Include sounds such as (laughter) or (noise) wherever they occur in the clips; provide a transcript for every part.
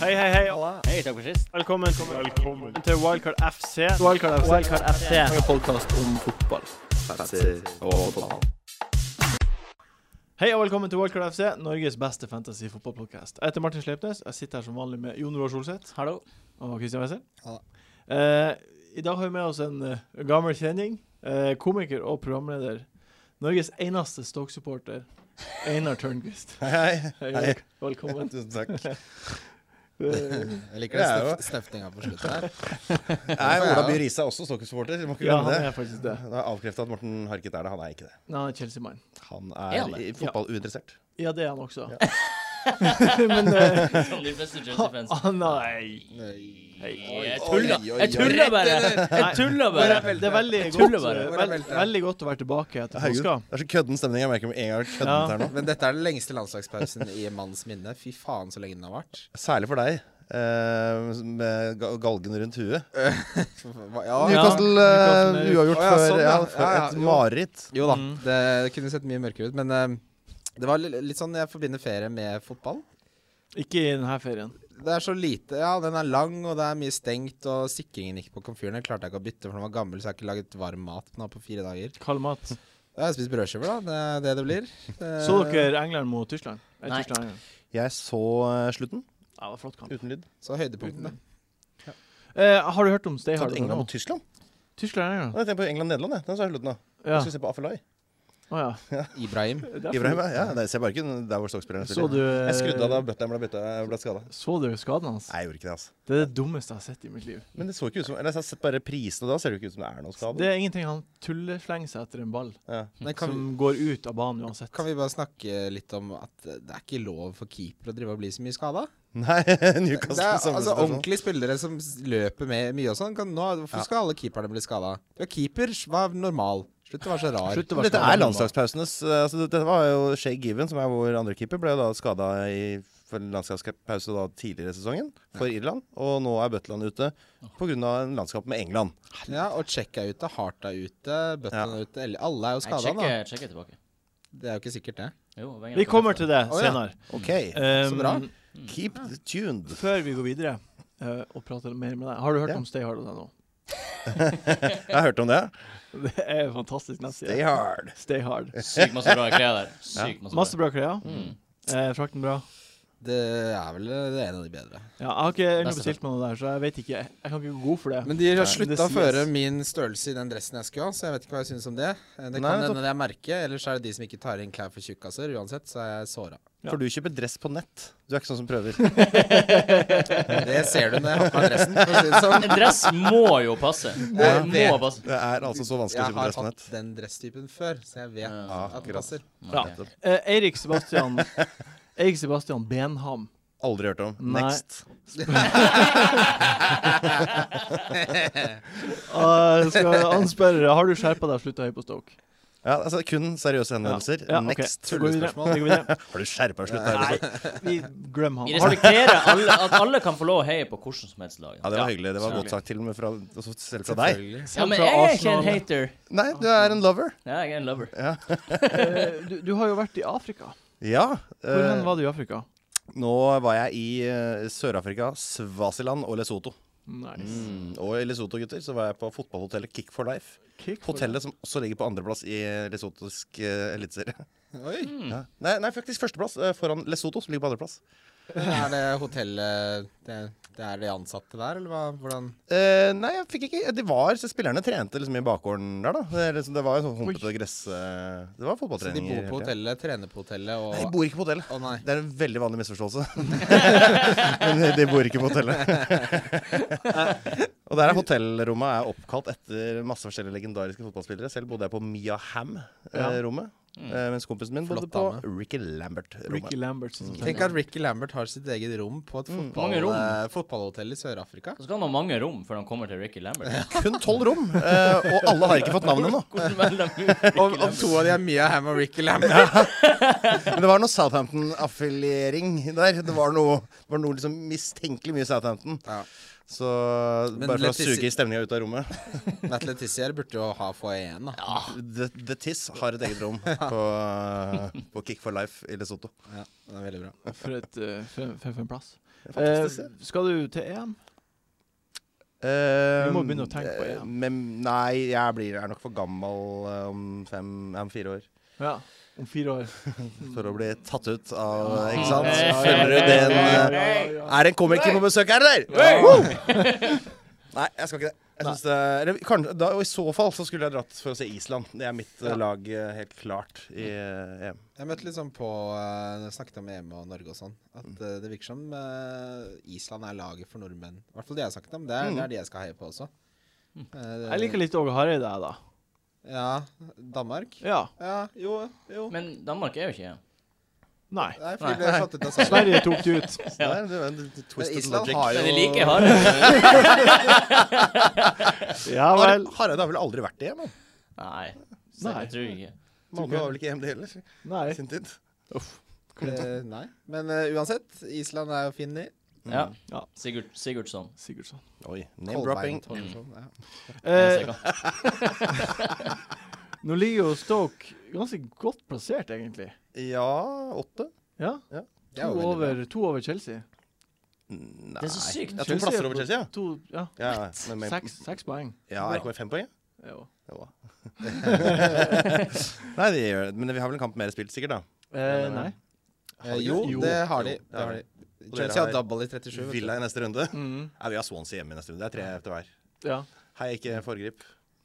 Hei, hei, hei. Hei, takk for sist. Velkommen, til Wildcard FC. Wildcard FC. En podkast om fotball. Hei og velkommen til Wildcard FC, Norges beste fantasy fotballpodcast. Jeg heter Martin Sleipnes. Jeg sitter her som vanlig med Jon Roar Solseth Hallo. og Christian Wessel. Ja. Eh, I dag har vi med oss en eh, gammel kjenning, eh, komiker og programleder. Norges eneste Stoke-supporter, Einar Tørnquist. Hei, hei. Hei, Hei. vel- (laughs) velkommen. Tusen (laughs) takk. Eh, Jeg liker Det den er jo- snøf snøftinga på slutten her. (laughs) Nei, Ola By Riise er også Stokke-supporter. Vi må ikke ja, glemme han det. er faktisk det. Det er avkreftet at Morten Harket er det. Han er ikke det. Nei, han er Chelsea-mann. Han Er er, han det? i fotball uinteressert. Ja, det er han også. (laughs) Men eh, han Nei. Hei, Oi, Jeg oi, tuller oi, Jeg oi. tuller bare! Jeg Nei. tuller bare! Det er veldig godt, eh, tuller bare. veld- veldig godt å være tilbake etter Herregud, påska. det er så kødden stemning. Jeg merker med en gang jeg har køddet Ja. her nå. Men dette er den lengste landslagspausen i en manns minne. Fy faen, så lenge den har vart. Særlig for deg. eh, med ga- galgen rundt huet. Ja, Ja. Newcastle eh, Newcastle er- uavgjort Å, ja, sånn, før ja, ja. for Ja, ja, et jo. mareritt. Jo da, Mm. det kunne sett mye mørkere ut, men eh, det var li- litt sånn jeg forbinder ferie med fotball. Ikke i denne ferien. Det er så lite Ja, den er lang, og det er mye stengt, og sikringen gikk på komfyren. Den klarte jeg ikke å bytte, for den var gammel, så jeg har ikke laget varm mat på den her på fire dager. Kald mat. Jeg har spist brødskiver, da. Det er det det blir. Eh, Så dere England mot Tyskland? Eh, Nei. Tyskland England. Jeg så eh, slutten, Ja, det var flott kamp. uten lyd. Så høydepunktene. Eh, har du hørt om Stay Jeg Hard? hadde England mot Tyskland. Tyskland England? Nei, Jeg tenker på England-Nederland. jeg. Den så jeg slutten av. Ja. Jeg skal se på Afelai. Å ja. Ibrahim. Derfor- Ibrahim, ja. ja. Det ser bare ikke der hvor Stoke-spilleren Så spiller. du eh, Jeg skrudde av da Butler'n ble, byttet- ble skada. Så du skaden hans? Nei, jeg gjorde ikke det, altså. Det er det dummeste jeg har sett i mitt liv. Men det så ikke ut som Eller jeg har sett bare prisene, da ser det jo ikke ut som det er noe skade. Det er ingenting han tulleflenger seg etter en ball Ja. Men kan, som går ut av banen uansett. kan vi bare snakke litt om at det er ikke lov for keeper å drive og bli så mye skada? Nei, (laughs) Newcastle sånn. Det er samme altså situasjon. ordentlige spillere som s- løper med mye og sånn. Kan, nå, hvorfor Ja. skal alle keeperne bli skada? Du er keeper, s- vær normal. Slutt å være så rar. Slutt å være Dette skadet. er landslagspausenes eh, altså, Dette var jo Shay Given, som er vår andre keeper, ble jo da skada i for en landslagspause da tidligere i sesongen for Irland. Og nå er Butland ute pga. en landskamp med England. Ja, og Check er ute, Hart er ute, Button Ja. er ute. eller- Alle er jo Nei, skada, sjekk da. sjekk tilbake. Det er jo ikke sikkert, det. Jo, Wenger Vi er på kommer neste. til det Å, ja. senere. OK, Um, bra. keep tuned. Før vi går videre eh, og prater mer med deg, har du hørt Ja. om Stay Hard og det nå? (laughs) Jeg har hørt om det. Det er en fantastisk nettside. Stay hard. Stay Hard. Sykt masse bra klær der. Sykt masse, Masse bra. bra klær. Mm. Eh, frakten bra. Det er vel eh, det er en av de bedre. Ja, jeg har ikke jeg har Beste bestilt meg noe der, så jeg vet ikke. Jeg kan ikke gå god for det. Men de har det slutta å sies. føre min størrelse i den dressen jeg skulle ha, så jeg vet ikke hva jeg syns om det. Eh, Nei, Det kan nettopp. hende det er merket, ellers er det de som ikke tar inn klær for tjukkaser. Uansett, så er jeg såra. Ja. For du kjøper dress på nett. Du er ikke sånn som prøver. Det ser du når jeg har på meg dressen, for å si det sånn. En dress må jo passe. Det Jeg må vet. passe. Det er altså så (laughs) vanskelig å kjøpe Jeg har dress på hatt nett. den dresstypen før, så jeg vet Ja, at den akkurat. passer. Ja. Ok. Eh, Eirik (laughs) Sebastian Eirik Sebastian Benham. Aldri hørt om. Nei. Next. Uh, (laughs) skal anspørre, har du skjerpa deg og slutta høyt på Stoke? Ja, altså Kun seriøse henvendelser. Ja, ok. Next. Vi går videre. Tullespørsmål. Vi går videre. Har du skjerpa deg? Slutt her. Nei, vi glemmer Vi han. Har du, respekterer alle, at alle kan få lov å heie på hvordan som helst lag. Ja, det var hyggelig. Det var selvfølgelig. godt sagt, til og med fra, også selv fra deg. Selvfølgelig. Ja, Selv men fra jeg er ikke en Arsenal. hater. Nei, du er en lover. Ja, jeg er en lover. eh, du, du har jo vært i Afrika. Ja. Hvor eh, hen var du i Afrika? nå var jeg i eh, Sør-Afrika, Svasiland og Lesotho. Nice. Mm, og i Lesotho, gutter, så var jeg på fotballhotellet Kick for Life. Kick for Hotellet som også ligger på andreplass i lesotisk uh, eliteserie. Oi. Ja. Nei, nei, faktisk førsteplass eh, foran Lesotho, som ligger på andreplass. Er det hotellet det, det er de ansatte der, eller hva? Hvordan Eh, nei, jeg fikk ikke De var, så Spillerne trente liksom i bakgården der, da. Det, er liksom, det var jo sånn humpete gress... eh, det var Så de fotballtrening. bor hele på tiden. hotellet, trener på hotellet og Nei, de bor ikke på hotellet. Å nei. Det er en veldig vanlig (laughs) misforståelse. Men de- de bor ikke på hotellet. og der er hotellrommet er oppkalt etter masse forskjellige legendariske fotballspillere. Selv bodde jeg på Mia Ja. Ham-rommet. eh, Mens kompisen min bodde Mm. Flott på Ricky Lambert-rommet. Ricky Lambert. Mm. som Tenk at Ricky Lambert har sitt eget rom på et fotball, Mange rom. eh, fotballhotell i Sør-Afrika. Så skal han ha mange rom før han kommer til Ricky Lambert. Kun tolv rom, eh, og alle har ikke fått navn ennå. Hvordan velger de ut Ricky Om, om Lambert? to av de er Mia Hamm og Ricky Lambert. (laughs) Men det var noe Southampton-affiliering der. Det var noe, det var noe liksom mistenkelig mye Southampton. Ja. Så Men bare for å Letiz- suge stemninga ut av rommet. Matt Letizier burde jo ha foajeen, da. The, The Tiss har et eget (laughs) rom på, eh, på Kick for Life i Lesotho. Ja, det er veldig bra. For, et, eh, for, for, for en plass. Eh, Fantastisk. skal du til EM? Vi må begynne å tenke på EM. Eh, Men nei, jeg blir, er nok for gammel eh, om, fem, om fire år Ja. Om fire år. Ah. for å bli tatt ut av Mm. Ikke Ja, sant? ja, ja, Følger ja, du den ja, ja, eh, ja, ja. Er det en komiker på besøk her, eller? Woo! Nei, jeg skal ikke det. Jeg synes det eller, kan, da, og I så fall så skulle jeg dratt for å se Island. Det er mitt eh, lag eh, helt klart i eh, EM. Jeg møtte litt sånn på eh, Når jeg snakket om EM og Norge og sånn, at eh, det virker som eh, Island er laget for nordmenn. I hvert fall det jeg har snakket om. Det er, det er de jeg skal heie på også. Eh, Jeg liker litt Åge Hareide, jeg, da. Ja. Danmark? Ja. Ja, jo, jo. Men Danmark er jo ikke Nei. Nei, fordi Nei. vi ble slått ut av Sverige. Sverige tok det ut. Så der, det var en twisted Island logic. har jo- Men de liker Hareide. Ja Har- vel. Hareide har vel aldri vært i EM? han? Nei, så Nei. jeg tror ikke. Malmö var vel ikke i EM, det heller? i Nei. Sin tid. Eh, nei. Men eh, uansett, Island er jo fin, de. Mm. Ja. Ja. Sigurd, Sigurdsson. Sigurdsson. Mm. Oi, name-dropping. Kolbein, Thorsen, ja. Eh, nå ligger jo Stoke ganske godt plassert, egentlig. Ja, åtte? Ja. Det To er jo veldig bra. over, to over Chelsea. Nei (laughs) Det er så sykt. Ja, to plasser over Chelsea, ja. To, ja. ja ja, men, men, Seks, seks poeng. ja er det ikke fem poeng? ja? Jo. Jo. (laughs) Nei, de gjør det. Men vi har vel en kamp mer spilt, sikkert, da. Eh, nei. Eh, jo, Jo, det har de. jo, Det har de. Og dere Chelsea har har double i 37. vet du. Villa i neste runde. Mhm. Nei, vi har Swansea hjemme i neste runde. Det er tre etter hver. Ja. Hei, ikke foregrip.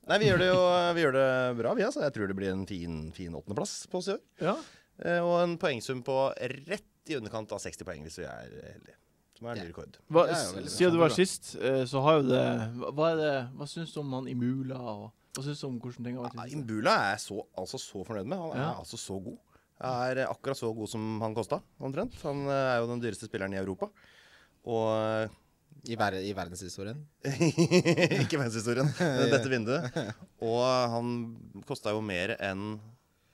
Nei, vi gjør det jo vi gjør det bra, vi. altså. Jeg tror det blir en fin, fin åttendeplass på oss i år. ja. Eh, Og en poengsum på rett i underkant av 60 poeng, hvis vi er heldige. Som er en ny rekord. Hva, Det er jo s- veldig siden du bra. var sist, eh, så har jo det Hva, hva er det, hva syns du om han Imula, og hva syns du om hvordan ting har vært? Ja, i det siste? Imbula er jeg så, altså så fornøyd med. Han er Ja. altså så god. Er akkurat så god som han kosta, omtrent. Han eh, er jo den dyreste spilleren i Europa. Og eh, I, ver I verdenshistorien. (laughs) Ikke (laughs) verdenshistorien, men dette vinduet. Og han kosta jo mer enn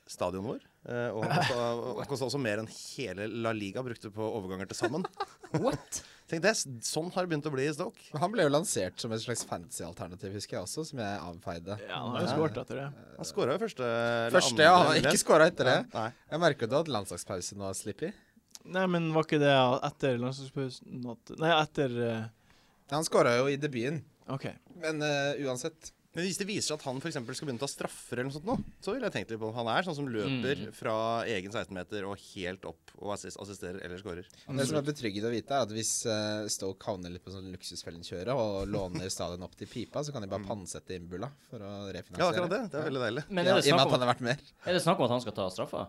stadionet vår. eh, Og han kosta- og han kosta også mer enn hele La Liga brukte på overganger til sammen. What? Tenk det, sånn har det begynt å bli i Stoke. Men Han ble jo lansert som et slags fantasy-alternativ, husker jeg også, som jeg avfeide. Ja, han har jo skåret etter det. Han skåra jo første eller Første, ja. Han har mulighet. ikke skåra etter det. Nei. Jeg merker du hadde landslagspause nå, Slippy. Nei, men var ikke det etter landslagspausen at Nei, etter eh, Han skåra jo i debuten, OK. men eh, uansett Men hvis det viser seg at han for eksempel skal begynne å ta straffer, eller noe sånt nå, så ville jeg tenkt litt på det. Han er sånn som løper fra egen 16-meter og helt opp og assist, assisterer eller scorer. Det som er betryggende å vite, er at hvis eh, Stoke havner litt på sånn luksusfellenkjøre og (laughs) låner stadion opp til pipa, så kan de bare pantsette Imbula for å Mm. Ja, akkurat refinansiere. det. Det er veldig deilig. Men Ja, er det, I og med snakk at om, han har vært med. er det snakk om at han skal ta straffa?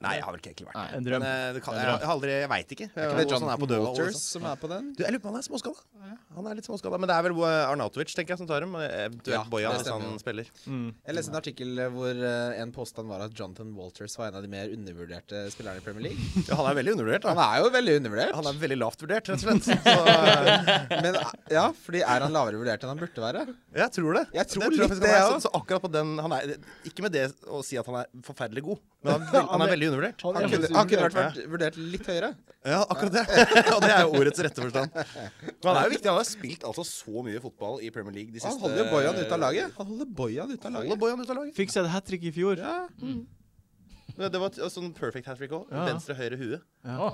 Nei, jeg har vel ikke egentlig vært Nei. En Men drøm. eh, det kan, jeg, har aldri, jeg veit ikke. Er Jeg, ikke det hvordan han er på Jonathan dødball og Walters sånn. som er på den? Du, jeg lurer på om han er småskada. Han er litt småskada. Men det er vel eh, Arnautovic tenker jeg, som tar dem. Eventuelt Ja, Bojan det hvis stemmer han jo. spiller. Jeg leste en artikkel hvor eh, en påstand var at Jonathan Walters var en av de mer undervurderte spillerne i Premier League. Ja, han er veldig undervurdert. Han da. er jo veldig undervurdert. Han er veldig lavt vurdert, rett og slett. Så eh, Men ja, fordi er han lavere vurdert enn han burde være? jeg tror det. Jeg tror det litt faktisk det, han er. ja. Så, så akkurat på den han er, Ikke med det å si at han er forferdelig god, men (laughs) han er, vel- han er veldig undervurdert. Han er kunne, faktisk han kunne vært, undervurdert, vært vurdert litt høyere. Ja, akkurat det. (laughs) Og det er jo ordets rette forstand. Men han er jo viktig. Han har spilt altså så mye fotball i Premier League de siste Han holder jo Bojan ute av laget. Han holder Bojan ute av Holder laget. Bojan ut av laget. Fikk seg et hat trick i fjor. Det det var et sånn perfect hat trick òg. Ja. Venstre, høyre hue.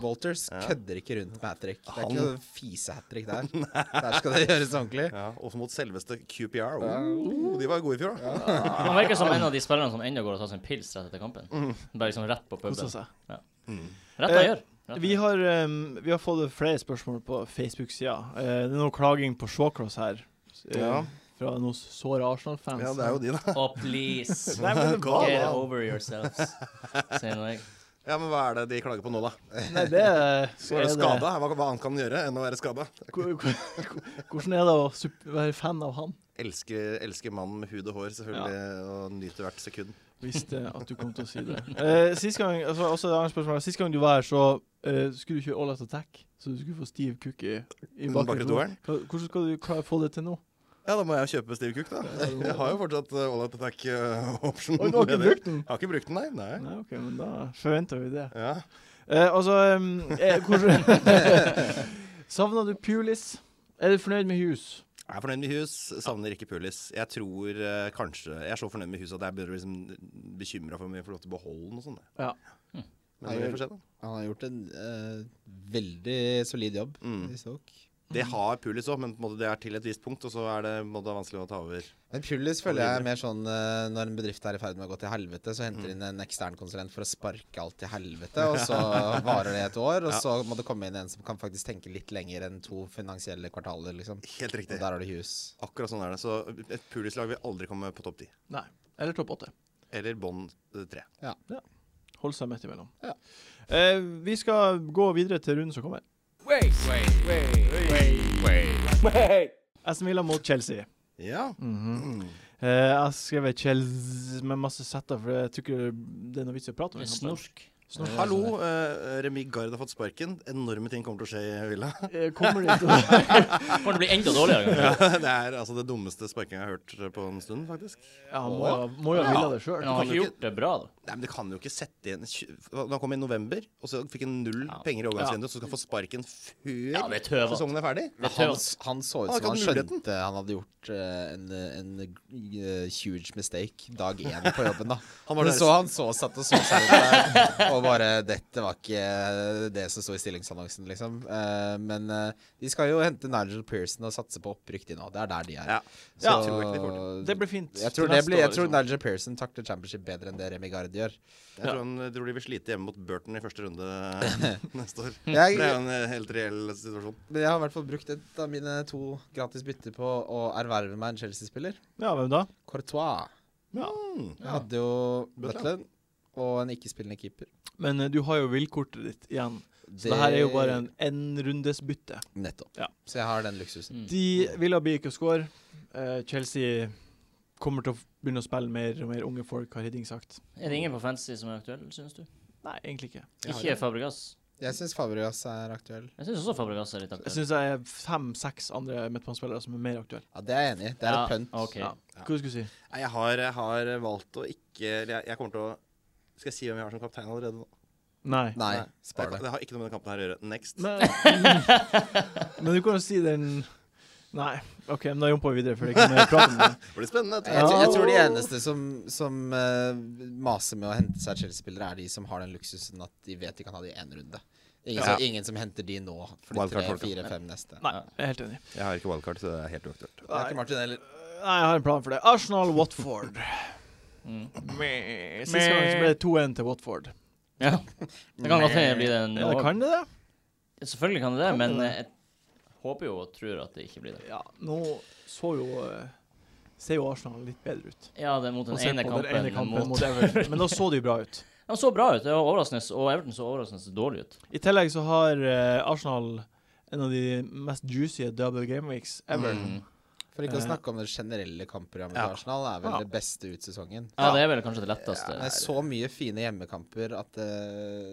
Walters kødder ikke rundt med hat trick. Det er ikke noe fise-hat (laughs) trick der. Der skal det gjøres ordentlig. Ja, også mot selveste QPR. Oh, de var gode i fjor, da. Han virker som en av de spillerne som ennå går og tar seg en pils rett etter kampen. Bare liksom rett på Kosa puben. Mm. seg. Rett han Eh, gjør. Rett Vi han gjør. har, ehm, vi har fått flere spørsmål på Facebook-sida. Eh, det er noe klaging på Shawcross her. eh, Ja. Fra noen såre Arsenal-fans. Ja, det er jo de, da. Oh, please. (laughs) Nei, men det var- Get (laughs) over yourselves, sier nå jeg. Ja, Men hva er det de klager på nå, da? Nei, det er, Så er det skada? Hva, hva annet kan han gjøre enn å være skada? Hvor- hvor- (laughs) Hvordan er det å sup- være fan av han? Elsker, elsker mannen med hud og hår, selvfølgelig, og nyter hvert sekund. Visste at du kom til å si det. (laughs) Eh, sist gang altså, også et annet spørsmål Sist gang du var her, så eh, skulle du kjøre All Out Attack. Så du skulle få stiv kukk i, i Den bakre bakre toeren. Hva- Hvordan skal du klare å få det til nå? Ja, da må jeg jo kjøpe Steve Cook, da. (laughs) Jeg har jo fortsatt uh, All Out eh, Attack-option. Oi, du har ikke brukt den? Jeg har ikke brukt den, nei. nei. Nei, OK, men da forventer vi det. Ja. (laughs) Eh, altså um, eh, Hvordan Savna du Pulis? Er du fornøyd med hus? Jeg er fornøyd med hus, savner ikke Pulis. Jeg tror eh, kanskje Jeg er så fornøyd med huset at jeg blir liksom bekymra for om vi får lov til å beholde den og sånn. Ja. Men vi får se, da. Han har gjort en eh, veldig solid jobb Mm. i Stoke. Det har Pulis òg, men på en måte det er til et visst punkt, og så er det på en måte vanskelig å ta over. Men Pulis føler jeg er mer sånn eh, når en bedrift er i ferd med å gå til helvete, så Mm. henter de inn en ekstern konsulent for å sparke alt til helvete, (laughs) og så varer det et år, og Ja. så må det komme inn en som kan faktisk tenke litt lenger enn to finansielle kvartaler, liksom. Helt Og riktig. der har du Hughes. Akkurat sånn er det. Så et Pulis-lag vil aldri komme på topp ti. Nei. Eller topp åtte. Eller bånd eh, tre. Holde seg midt imellom. Ja. Eh, vi skal gå videre til runden som kommer. Aston Villa mot Chelsea. Ja. Eh, jeg har skrevet Chelsea med masse setter, for jeg tror ikke det er noe vits i å prate om den kampen. Snork. Snor. Hallo, eh, Remi Gard har fått sparken. Enorme ting kommer til å skje i Villa. (laughs) Eh, Kommer de til å Kommer til å bli enda dårligere. (laughs) det er altså det dummeste sparkinga jeg har hørt på en stund, faktisk. Ja, han må jo- må jo ha villet det Men sjøl. han har ikke gjort det bra, da. Nei, men det kan jo ikke sette igjen tju- Han kom i november, og så fikk han null Ja. penger i overgangsvinduet, så skal han få sparken før Ja, det er tøvete. sesongen er ferdig. Det er Han, tøvete. han så Han ut som har han ikke hatt skjønte han hadde gjort eh, en, en eh, huge mistake dag én på jobben, da. (laughs) Han var Men der- så han så satt og så seg rundt der, og bare Dette var ikke det som sto i stillingsannonsen, liksom. Eh, men eh, de skal jo hente Nigel Pearson og satse på opprykk, de nå. Det er der de er. Ja. Så Jeg tror ikke de får Det blir fint. jeg til tror, det neste blir, jeg år, altså. tror liksom. Nigel Pearson takler championship bedre enn det Remi Gard gjør. Jeg tror han jeg tror de vil slite hjemme mot Burton i første (laughs) runde neste år. Det Jeg- er jo en eh, helt reell situasjon. Men jeg har i hvert fall brukt et av mine to gratis bytter på å erverve meg en Chelsea-spiller. Ja, hvem da? Courtois. Mm. Jeg hadde jo Butland. Butland og en ikke-spillende keeper. Men eh, du har jo villkortet ditt igjen. Så Det, det her er jo bare en enrundesbytte. Nettopp. Ja. Mm. Så jeg har den luksusen. De Villa blir ikke å score. Eh, Chelsea kommer til å f- begynne å spille mer og mer unge folk, har Hidding sagt. Er det ingen på fantasy som er aktuell, syns du? Nei, egentlig ikke. Jeg har Ikke Fabregas. Jeg syns Fabregas er aktuell. Jeg syns også Fabregas er litt Jeg aktuell. syns det er fem-seks andre midtbanespillere som er mer aktuelle. Ja, Det er jeg enig i. Det er Ja, et pønt. ok. Ja. Hva skulle du si? Nei, Jeg har, jeg har valgt å ikke eller jeg, jeg kommer til å Skal jeg si hvem jeg har som kaptein allerede nå? Nei. Nei, Nei. spar Jeg- det. Det har ikke noe med den kampen her å gjøre. Next. Men, (laughs) men du kan jo si den Nei. OK, men da jumper vi videre, for det er ikke mer prat om det. Det blir spennende. Jeg, tror- jeg tror de eneste som, som eh, maser med å hente seg Chelsea-spillere, er de som har den luksusen at de vet de kan ha de i én runde. Ingen, Ja. som, ingen som henter de nå for de Wildcard tre, folk, ja. fire, fem neste. Nei, jeg er helt enig. Jeg har ikke wildcard, så det er helt uaktuelt. Det er ikke Martin heller. Nei, jeg har en plan for det. Arsenal-Watford. Mm. Sist gang så ble det 2-1 til Watford. Ja. Det kan godt hende det blir det Ja, det nå. kan det det? Selvfølgelig kan det det, Kan det men det? eh, jeg håper jo og tror at det ikke blir det. Ja, nå så jo eh, Ser jo Arsenal litt bedre ut. Ja, det er mot den Og ser ene på kampen, den ene kampen mot mot Everton. Men da så de jo bra ut. Han så bra ut, det var overraskende, og Everton så overraskende dårlig ut. I tillegg så har eh, Arsenal en av de mest juicy double game weeks ever. Mm. For ikke å Eh. snakke om det generelle kampprogrammet Ja. til Arsenal, er vel Ja. det beste ut sesongen. Ja, det er vel kanskje det letteste. Det er så mye fine hjemmekamper at eh,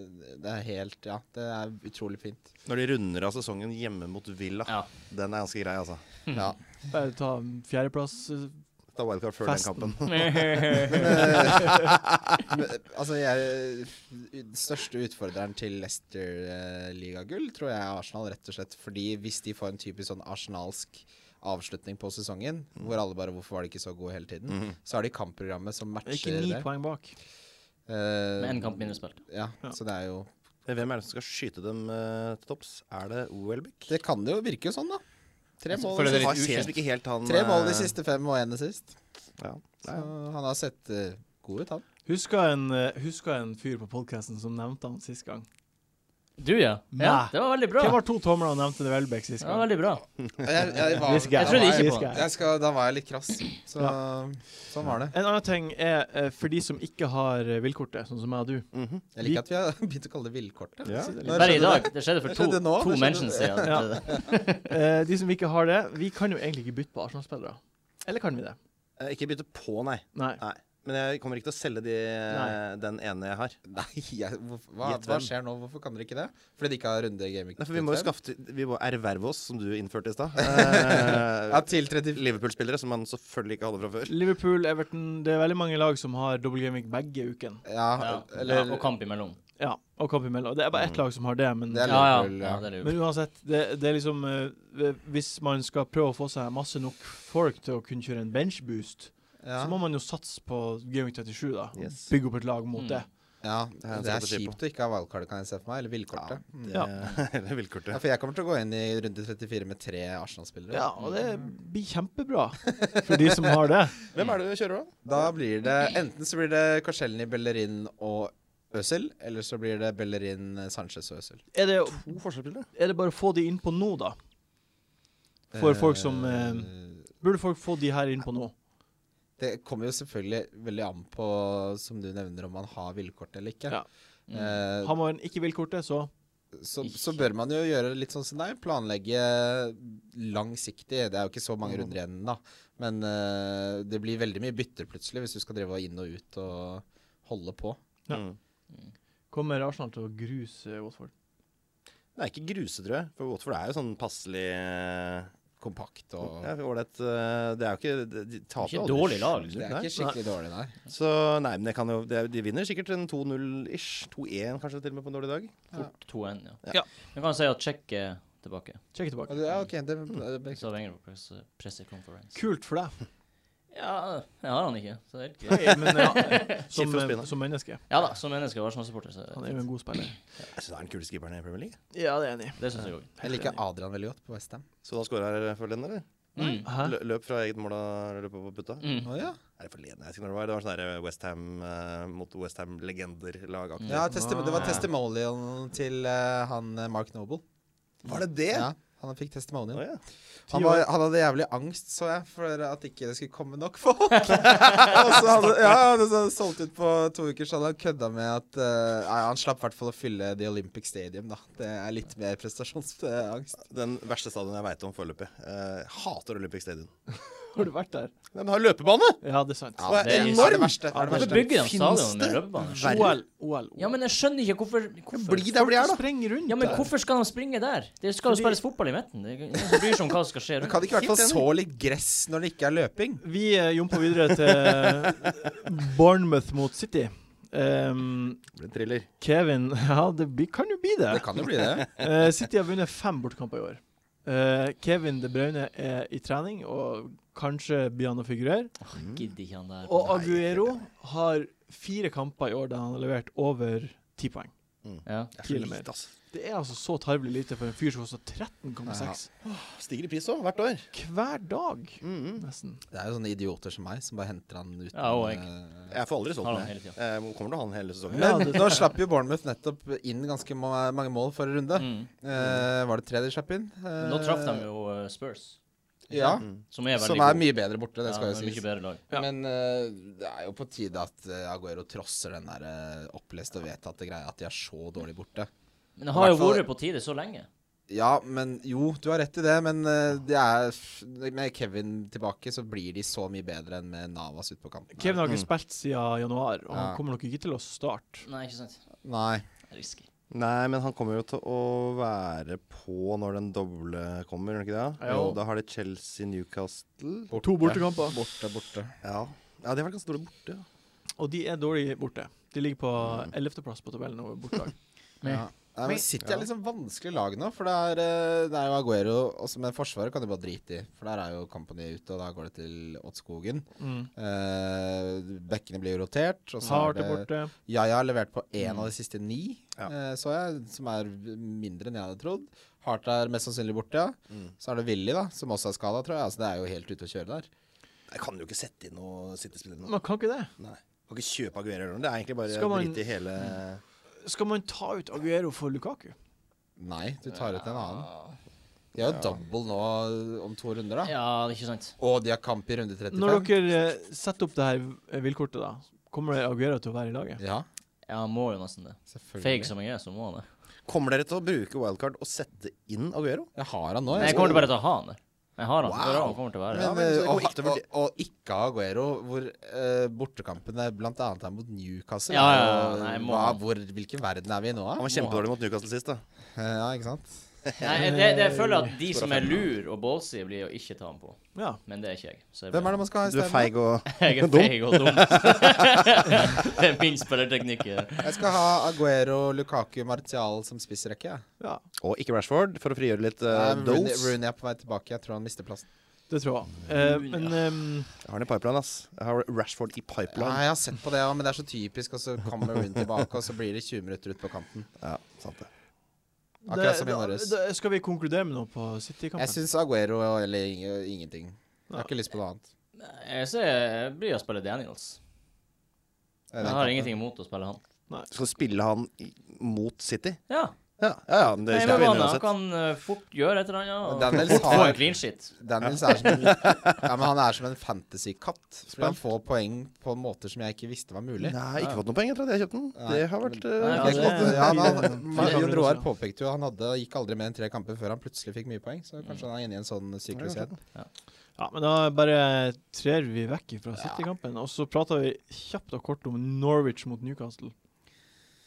det, det er helt Ja, det er utrolig fint. Når de runder av sesongen hjemme mot Villa, (laughs) Ja. (laughs) den er ganske grei, altså. Hmm. Ja. Bare ta fjerdeplass. eh, Ta wildcard før Festen. den kampen. Men, altså, jeg, den største utfordreren til Leicester-ligagull tror jeg er Arsenal, rett og slett. Fordi hvis de får en typisk sånn arsenalsk avslutning på sesongen, Hmm. hvor alle bare 'Hvorfor var de ikke så gode hele tiden?' Så har de kampprogrammet som matcher Ikke ni det. poeng bak. Eh, Med en kamp mindre spilt. Ja, Ja. så det er jo Hvem er det som skal skyte dem eh, til topps? Er det Welbeck? Det kan det jo virke sånn, da. Tre mål, føler det er har litt ser ukjent. ikke helt han tre mål de eh, siste fem, og én sist. Ja. Så han har sett eh, god ut, han. Husker en, eh, husker en fyr på podkasten som nevnte han sist gang? Du, ja. Nei. ja. Det var veldig bra. Hvem var to tomler og nevnte det Welbeck sist Det var gang? veldig bra. Jeg, jeg, var, This guy. Jeg trodde da This var ikke på guy. det. Jeg skal, da var jeg litt krass, så sånn var det. En annen ting er eh, for de som ikke har eh, villkortet, sånn som meg og du. mhm. Jeg liker at vi har (laughs) begynt å kalle det villkortet. Ja. Så det er litt- Når Bare i skjedde dag. Det skjedde for Det to, skjedde nå, to det skjedde- mennesker (laughs) siden. Ja. Det- det- Eh, de som ikke har det, vi kan jo egentlig ikke bytte på Arsenal-spillere. Eller kan vi det? Eh, Ikke bytte på, nei. Nei. nei. Men jeg kommer ikke til å selge de, eh, Nei. den ene jeg har. Nei, jeg, hvorfor- hva, Gjett hva hvem. skjer nå? Hvorfor kan dere ikke det? Fordi de ikke har runde gaming? Nei, for vi må jo skaffe til- Vi må erverve oss, som du innførte (laughs) i stad. Eh, Ja, til 34 Liverpool-spillere som man selvfølgelig ikke hadde fra før. Liverpool, Everton Det er veldig mange lag som har double gaming begge uken. ja, Ja. eller Ja, og kamp imellom. Ja, og Capi Melo. Det er bare ett lag som har det, men Det er Ja, ja. Liverpool, ja. ja det er Liverpool. Men uansett, det, det er liksom eh, Hvis man skal prøve å få seg masse nok folk til å kunne kjøre en benchboost, Ja. så må man jo satse på Gaming 37, da. Yes. Bygge opp et lag mot Mm. det. ja, er en det er strategi på. kjipt å ikke ha wildcardet, kan jeg se for meg. Eller villkortet. Ja. Ja. (laughs) Eller Ja, villkortet. for jeg kommer til å gå inn i runde 34 med tre Arsenal-spillere. Ja, og det blir kjempebra for de som har det. Hvem er det du kjører, da? Da blir det Enten så blir det Korselny, Bellerin og Øzil, eller så blir det Bellerin, Sanchez og Øzil. (laughs) Er det, To forsvarsspillere. er det bare å få de inn på nå, da? For folk som eh, Burde folk få de her inn på nå? Det kommer jo selvfølgelig veldig an på, som du nevner, om man har villkort eller ikke. Ja. Mm. Eh, Har man ikke villkortet, så så, så bør man jo gjøre litt sånn som deg, planlegge langsiktig. Det er jo ikke så mange runder igjen, da. Men eh, det blir veldig mye bytter plutselig hvis du skal drive inn og ut og holde på. Ja. Mm. kommer Arsenal til å gruse Watford. Det er ikke gruse, tror jeg. For Watford er jo sånn passelig eh, Kompakt og ja, ålreit eh, Det er jo ikke De, de taper Ikke aldri dårlig lag. liksom. sjukt, Det er nei. ikke skikkelig dårlig, nei. Så nei, men det kan jo det, De vinner sikkert en 2-0-ish. 2-1 kanskje til og med på en dårlig dag. Fort 2-1, ja. Ja. Vi kan si at Tsjekk er tilbake. Sjekk Og tilbake. det- Ja, ok, det, det Så Wenger på press- pressekonferanse. Kult for deg. Ja, jeg har han ikke, så det er helt greit. Hey, men ja, som, eh, Skift og spinn, da. som menneske. Ja da, som menneske og Arsenal-supporter, så Han er jo en god spiller. Jeg synes det er den kuleste keeperen i Premier League. Ja, det er enig. det syns jeg òg. Jeg liker Adrian veldig godt på Westham. Så da skåra for den, eller? Mm. Hæ? Lø- Løp fra eget mål og løp opp på putta? Mm. Å ja. Er det forleden? Jeg husker når det var. Det var sånn der Westham uh, mot Westham-legender-lagaktig. ja testi det var testimonialen til eh, han eh, Mark Noble. Var det det? Ja, han fikk testimonial. Å, ja. Han, Ti var, år. han hadde jævlig angst, så jeg, for at ikke det skulle komme nok folk. og så hadde ja, han hadde solgt ut på to uker, så hadde han kødda med at eh, nei, Han slapp i hvert fall å fylle The Olympic Stadium, da. Det er litt mer prestasjonsangst. Den verste stadion jeg veit om foreløpig. Eh, hater Olympic Stadion. Har du vært der? Men har løpebane! Ja, det er sant. Ja, det er det enormt. det verste. Det er det Hvorfor verste. bygger de Finnes stadion med det? løpebane? Verre. OL, OL. Ja, men jeg skjønner ikke hvorfor, hvorfor. Bli der hvor de er, da! Spreng rundt Ja, men der. hvorfor skal de springe der? Det skal jo spilles fotball i midten. Det er ingen som bryr seg om hva som skal skje Men rundt. kan det ikke i hvert fall så litt gress når det ikke er løping? Vi eh, jumper videre til eh, Bournemouth mot City. Ehm, Det blir thriller. Kevin (laughs) Ja, det blir- kan jo bli det. Det kan jo (laughs) bli det. Eh, City har vunnet fem bortkamper i år. Eh, Kevin De Bruyne er i trening, og kanskje begynner å figurere. Gidder ikke han der. Og Aguero har fire kamper i år der han har levert over ti poeng. Ja. Det er Til så og med. lite, altså. Det er altså så tarvelig lite for en fyr som koster 13,6 Stiger i pris òg, hvert år. Mm, hver dag, nesten. Det er jo sånne idioter som meg, som bare henter han uten Ja, og jeg. eh, Jeg får aldri Har solgt han hele den. tiden. Eh, kommer til å ha den hele sesongen. Ja, Men det- nå slapp jo Bournemouth nettopp inn ganske ma mange mål forrige runde. Mm. Eh, var det tre de slapp inn? Eh, Nå traff de jo eh, Spurs, Ja, Mm. som er veldig som er mye bedre borte, det Ja, skal jo de er sies. Mye bedre lag. Ja. Men eh, det er jo på tide at eh, Aguero trosser den der eh, oppleste og vedtatte greia at de er så dårlig borte. Men det har jo Hvertfall- vært på tide så lenge. Ja, men jo, du har rett i det, men eh, det er f- med Kevin tilbake så blir de så mye bedre enn med Navas ute på kanten. Kevin har ikke spilt siden januar, og han Ja. kommer nok ikke til å starte. Nei, ikke sant. Nei. Risky. Nei, men han kommer jo til å være på når den doble kommer, gjør han ikke det? Jo. Da har de Chelsea-Newcastle. To bortekamper, Borte, borte. Ja. ja, de har vært ganske store borte. ja. og de er dårlig borte. De ligger på 11.-plass på tabellen over bortelag. Ja. Nei, men City er liksom vanskelig lag nå, for det er, eh, det er jo Aguero også, Men Forsvaret kan du bare drite i, for der er jo Company ute, og da går det til Oddskogen. (laughs) Mm. Eh, bekkene blir jo rotert. Og så er Hart det er borte. Yaya har levert på én av de siste ni, Ja. eh, så jeg, som er mindre enn jeg hadde trodd. Hart er mest sannsynlig borte, ja. Så er det Willy, da, som også er skada, tror jeg. Altså, det er jo helt ute å kjøre der. Jeg kan jo ikke sette inn noen City-spillere nå. Man kan ikke det. Nei. Kan ikke kjøpe Aguero eller noe. Det er egentlig Skal bare man- drite i hele Skal man ta ut Aguero for Lukaku? Nei, du tar ut en annen. De har jo double nå eh, om to runder, da. Ja, ikke sant. Og de har kamp i runde 35. Når dere eh, setter opp det her eh, villkortet, da, kommer det Aguero til å være i laget? Ja, Ja, han må jo nesten det. Feig selvfølgelig. som jeg er, så må han det. Kommer dere til å bruke wildcard og sette inn Aguero? Jeg har han nå. Nei, jeg kommer til bare til å ha han der. Jeg har han. Wow. Det er det han kommer til å være. Ja, men Men, så eh, det og, kommer ikke til å og, vurder- og ikke Aguero, hvor eh, bortekampene blant annet er mot Newcastle. Ja, ja, ja, og nei, må hva, han. hvor, hvilken verden er vi i nå, Han da? var kjempedårlig mot Newcastle sist, da. Eh, Ja, ikke sant? Nei, jeg, det, det, jeg føler at de som er lur og ballsy, blir å ikke ta ham på. Ja. Men det er ikke jeg. Så jeg Hvem er det man skal ha i Du er stedet? feig og (laughs) Jeg er Dum. feig og dum. det er min spillerteknikk. ja. Jeg skal ha Aguero, Lukaku, Martial som spissrekke. jeg. ja, Og ikke Rashford, for å frigjøre litt uh, Nei, men Rooney dose. Rooney er på vei tilbake. Jeg tror han mister plassen. det tror jeg. Eh, men ehm, Jeg har den i pipeline, ass. Jeg har Rashford i Ja, pipeline. jeg har sett på det, ja, men det er så typisk. Og så kommer Rooney tilbake, og så blir det 20 minutter ut på kanten. Ja, sant det. Akkurat som i det- Norges. det- Skal vi konkludere med noe på City-kampen? Jeg syns Aguero eller ing- ingenting. Jeg har ikke lyst på noe annet. Jeg ser jeg blir å spille Daniels. Jeg har ingenting imot å spille han. Du skal spille han i- mot City? Ja. Ja, ja. ja det Jeg kommer vi inn han uansett. kan eh, fort gjøre et eller annet. Men Og Daniels fort få har- en clean shit. Daniels er (laughs) som en, ja, men han er som en fantasy-katt. For han får poeng på måter som jeg ikke visste var mulig. Nei, ikke fått noen penger etter at jeg kjøpte den. Det har vært eh, Nei, Ja, Ja, det, det- ja, men han, Ja, det- Jon Roar påpekte jo han hadde, gikk aldri mer enn tre kamper før han plutselig fikk mye poeng. Så kanskje han er inne i en sånn syklus igjen. Ja, men da bare trer vi vekk fra City-kampen, og så prater vi kjapt og kort om Norwich mot Newcastle.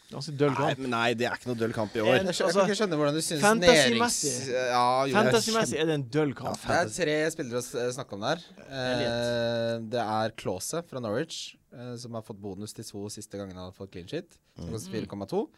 Ganske døll Nei, kamp. men nei, det er ikke noe døll kamp i Jeg år. En- skjø- jeg kan ikke skjønne hvordan du syns nærings... altså, Fantasy-messig. Ja, jo, jeg Fantasymessig er det en døll kamp. Det er tre spillere å s- snakke om der. Eh, det er Klause fra Norwich, eh, som har fått bonus de to siste gangene han har fått clean sheet. Som Mm. koster 4,2.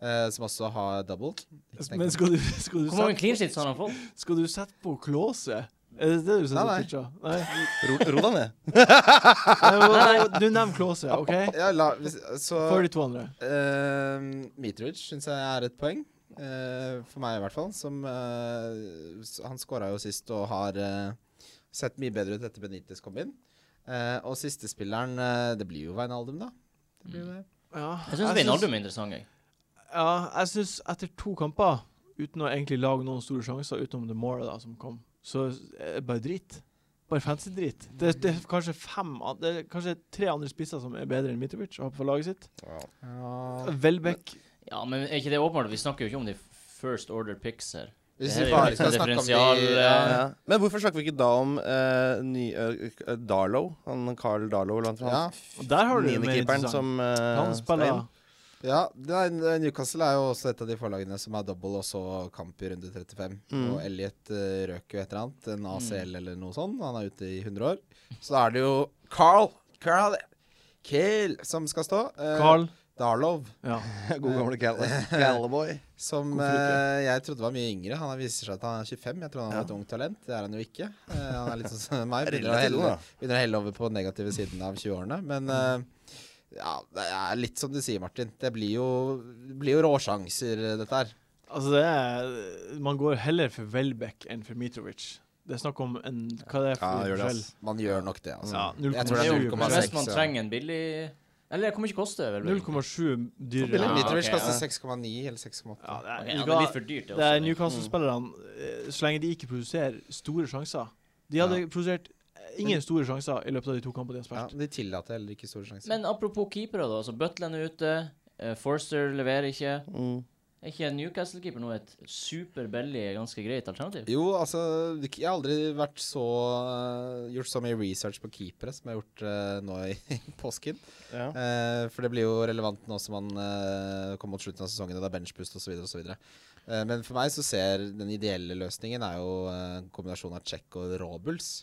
Eh, som også har double. Ikke tenk Men om- skal du, skal du, Hvor mange sette, clean sheets har han fått? skal du sette på Klåse? Er det det du setter Nei, nei. på pitcha? Nei, Ro, ro deg ned. nei, nei, nei. Du nevner Klåse, OK? ja, la, hvis, så For de to andre. eh, Mitrovic syns jeg er et poeng. eh, for meg, i hvert fall. Som eh, s- Han skåra jo sist og har eh, sett mye bedre ut etter Benitez kom inn. Eh, og siste spilleren eh, Det blir jo Wijnaldum, da. Det Mm. blir jo det. Ja, Jeg syns Vinaldum er interessant. Jeg. Ja, jeg syns etter to kamper, uten å egentlig lage noen store sjanser, utenom det målet da som kom, så er det bare drit. Bare fancy-drit. Det, det er kanskje fem an- Det er kanskje tre andre spisser som er bedre enn Mitrovic og har på laget sitt. Welbeck Ja, men er ikke det åpenbart? Vi snakker jo ikke om de first order picks her. Hvis Det vi er bare jo skal snakke om differensial, eh, de Ja. ja. Men hvorfor snakker vi ikke da om eh, ny, eh, eh, Darlow? Han Carl Darlow, eller Ja, han Og der har du det mer niendekeeperen interessant. som eh, Han skal spiller inn. (laughs) ja det er, Newcastle er jo også et av de forlagene som har double og så kamp i runde 35. Mm. Og Elliot eh, røk jo et eller annet, en ACL eller noe sånt. Han er ute i 100 år. Så da er det jo Carl Carl Kill som skal stå. Eh, Carl. Darlow, Ja. God gamle (laughs) Cal- Callaway. som Hvorfor ikke? eh, jeg trodde var mye yngre. Han viser seg at han er 25. Jeg trodde han var et ungt talent. Det er han jo ikke. Eh, han er litt sånn som (laughs) meg. Begynner å Relativt ung, helle, da. begynner å helle over på den negative siden av 20-årene. Men eh, ja, det er litt som du sier, Martin. Det blir jo, blir jo råsjanser, eh, dette her. Altså, det er Man går heller for Welbeck enn for Mitrovic. Det er snakk om en Hva det er Ja, for gjør det, forskjell? ass. Man gjør nok det, altså. Ja, Jeg tror det er 0,7. Men hvis man 0,6, ja. trenger en billig Eller det kommer ikke koste. vel, vel? 0,7 dyrere. Billy Ja, Mitrovic ok, koster ja. 6,9 eller 6,8. Ja, det er, vet Ok, ja, det du er hva? litt for dyrt, det Det er også. Newcastle-spillerne. eh, Så lenge de ikke produserer store sjanser De hadde produsert eh, ingen store sjanser i løpet av de to kampene de har Ja, spilt. de tillater heller ikke store sjanser. Men apropos keepere, da. Så Butland er ute. eh, Forster leverer ikke. Mm. Er ikke Newcastle-keeper nå et superbillig, ganske greit alternativ? jo, altså Jeg har aldri vært så eh, gjort så mye research på keepere som jeg har gjort eh, nå i (laughs) påsken. Ja. Eh, for det blir jo relevant nå som man eh, kommer mot slutten av sesongen og det er benchpust osv. videre Eh, men for meg så ser den ideelle løsningen er jo eh, en kombinasjon av check og Robuls.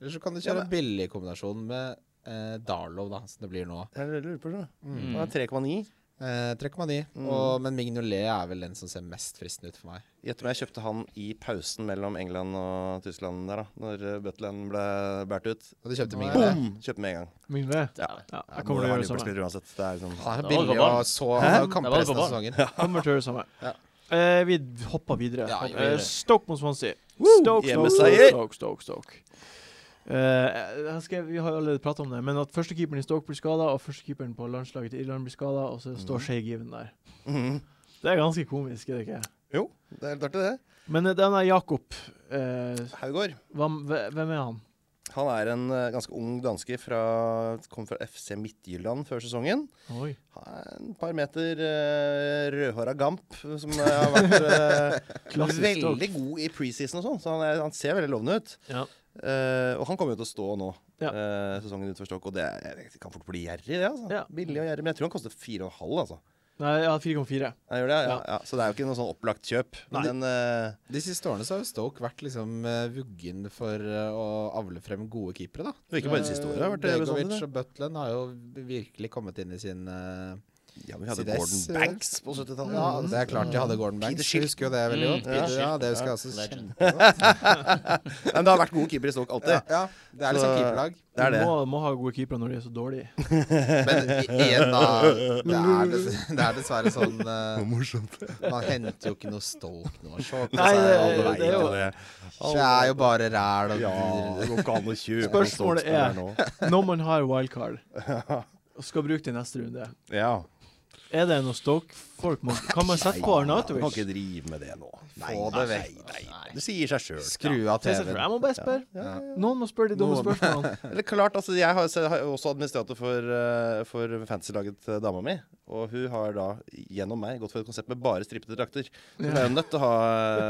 Eller så kan du kjøre en billig kombinasjon med eh, Darlow, da, som det blir nå. Jeg lurer på det. Mm. Han er 3,9. Eh, 3,9. Og- Men Mignolet er vel den som ser mest fristende ut for meg. Gjett om jeg kjøpte han i pausen mellom England og Tyskland der, da. Når eh, Butland ble båret ut. Og du kjøpte Mignolet. Boom! Kjøpte med en gang. Min vei. Ja. Ja, jeg kommer til å gjøre det samme. Newcastle uansett. Det er (laughs) liksom Han er Da var det billig på ballen. og så Han har Da jo var kamper det på resten av sesongen. Kommer til å gjøre det samme. Ja. Eh, vi hopper videre. Ja, gjør Eh, det. Stoke mot Swansea. Woo! Stoke, Stoke, Hjemmeseier! Stoke, Stoke, Stoke, Stoke. Eh, jeg skrev, vi har jo allerede prata om det, men at førstekeeperen i Stoke blir skada, og førstekeeperen på landslaget til Irland blir skada, og så står Shay Given der. Mhm. Det er ganske komisk, er det ikke? Jo, det er helt artig, det. Men eh, denne Jakob eh, Haugård. hva, Hvem er han? Han er en eh, ganske ung danske fra Kom fra FC Midtjylland før sesongen. Oi. Han er en par meter uh, rødhåra gamp som eh, har vært (laughs) eh, (laughs) Klassisk veldig god i preseason og sånn, så han, er, han ser veldig lovende ut. Ja. Eh, og han kommer jo til å stå nå, Ja. eh, sesongen ut for Stokk. Og det er, jeg vet ikke, kan fort bli gjerrig, det. altså. Ja. Billig og gjerrig. Men jeg tror han koster 4,5, altså. Nei, ja, 4,4. Jeg gjør det, ja, Ja. ja. ja. Så det er jo ikke noe sånn opplagt kjøp. Nei. Men eh, De siste årene så har jo Stoke vært liksom eh, vuggen for eh, å avle frem gode keepere, da. det er ikke bare de siste årene. det har vært eh, det eh, Begovic bestandig, og Butland har jo virkelig kommet inn i sin eh, det. Ja, men vi hadde Sides, Gordon eh, Banks på 70-tallet. Ja, det er klart de hadde Gordon Banks. altså, Peter Jeg husker jo det veldig Mm, godt. Peter ja, Schild. det husker Ja, jeg også legend. kjempegodt. Men det har vært gode keepere i Stoke alltid. Ja, ja, det er liksom Så- keeperlag. Det er det. Du må, må ha gode keepere når de er så dårlige. Men i- igjen, da. Det er, dess det er dessverre sånn eh, Man henter jo ikke noe Stoke nå. Short, Nei, så er det- det alle er veier. jo- Det er jo bare ræl og Ja, drill. det går ikke an å kjøpe Spørsmålet er- nå. Når man har (laughs) wildcard og skal bruke det i neste runde, Ja. er det noe Stoke-folk man Kan man sette på Du kan Arnautovic? ikke drive med det nå. Få det vekk. Nei, nei. Det sier seg sjøl. Skru av TV-en. Jeg må bare spørre. Ja, Noen må spørre de dumme Noen. spørsmålene. (laughs) (laughs) Eller klart, altså Jeg har, så jeg har også administrator for, eh, for fantasy-laget til dama mi. Og hun har da gjennom meg gått for et konsept med bare strippete drakter. Så hun er jo nødt til å ha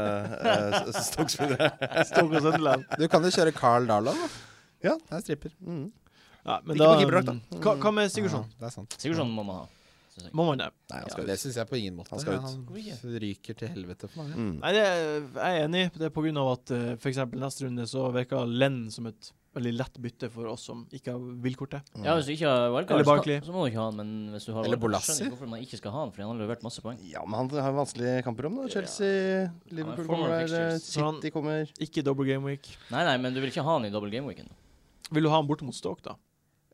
uh, stokkspillere. Stoke og Sunderland. Du kan jo kjøre Carl Darlow. da. Ja. Det er stripper. Ja, men Ikke da, på keeperdrakt, da. mm, hva, hva med Sigurdsson? Ja, det er sant. Sigurdsson sånn må man ha. synes jeg. Må man det? Nei, altså, han Ja, skal ut. det syns jeg på ingen måte. Han skal ut. Han ryker til helvete for meg. Mm. Nei, det er, jeg er enig. Det er pga. at eh, for f.eks. neste runde så virker Lenn som et veldig lett bytte for oss som ikke har villkortet. Ja, Hvis du ikke har Eller wildcard, så, Barkley. kan- så må du ikke ha han. Men hvis du har Eller wildcard, Bolasie. skjønner jeg ikke hvorfor man ikke skal ha han, fordi han har levert masse poeng. Ja, men han har vanskelige kamper om, da. Chelsea, Ja, Liverpool men kommer der, eh, fixtures. Så han- City kommer Ikke double game week. Nei, nei, men du vil ikke ha han i double game weekend. Vil du ha han borte mot Stoke, (laughs) da?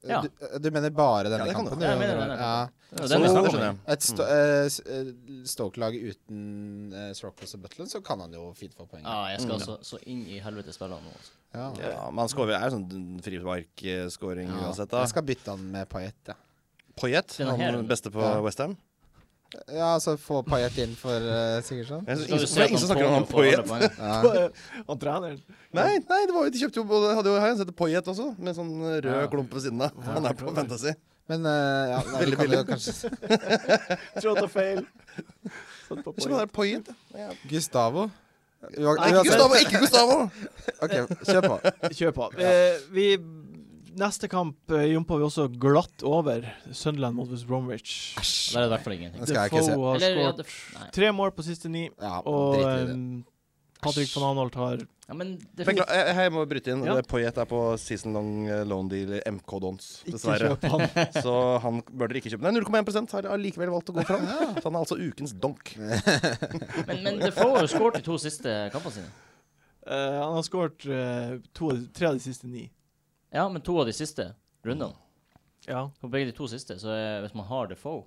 Ja. Eh, Du, du mener bare denne Ja, det kan du. kampen? Ja, jeg du, mener denne ja. Det er Så- den vi snakker om. skjønner jeg. Et sto eh, s- eh, Stoke-lag uten uh, og Butland, så kan han jo fint få poeng. Ja, jeg Mm. skal så, så inn i helvete spille han nå. Altså. Ja. Ja, men han scorer- er jo sånn frisparkskåring Ja. uansett, da. Jeg skal bytte han med Payet. Ja. Poyet, Denne her, han den. beste på Ja. Westham. ja, altså få Payet inn for eh, Sigurdsson. Jeg Skal synes- du Ingen se at ingen som snakker om han han får alle Poyet. poengene? Ja. Han treneren. Nei, nei, det var jo, de kjøpte jo både, hadde jo her en som heter Poyet også, med en sånn rød klump ved siden av. Han er på Fantasy. Men eh, (laughs) ja, nei, Veldig vi kan jo billig. kanskje Trådte feil. Satt på Ikke bare poeng. Poyet. Gustavo. Nei, ikke Gustavo! Ikke Gustavo! (laughs) OK, kjør på. Kjør på. Eh, vi Neste kamp eh, jumpa vi også glatt over. Sunderland mot West Bromwich. Der er det i hvert fall ingenting. Den skal jeg ikke se. Defoe har Eller, ja, det, skåret nei. tre mål på siste ni, Ja, og drit i det. eh, Patrick van Anholt har Ja, men det Beklager, jeg, jeg må bryte inn. Ja. Poyet er på season long eh, loan deal i MK Dons, ikke dessverre. kjøpt han. (laughs) (laughs) Så han bør dere ikke kjøpe. Nei, 0,1 har allikevel valgt å gå fram. Så han er altså ukens donk. Men, men Defoe har skåret de to siste kampene sine. Eh, han har skåret eh, to av de- tre av de siste ni. Ja, men to av de siste rundene. Ja. På begge de to siste, så er, hvis man har Defoe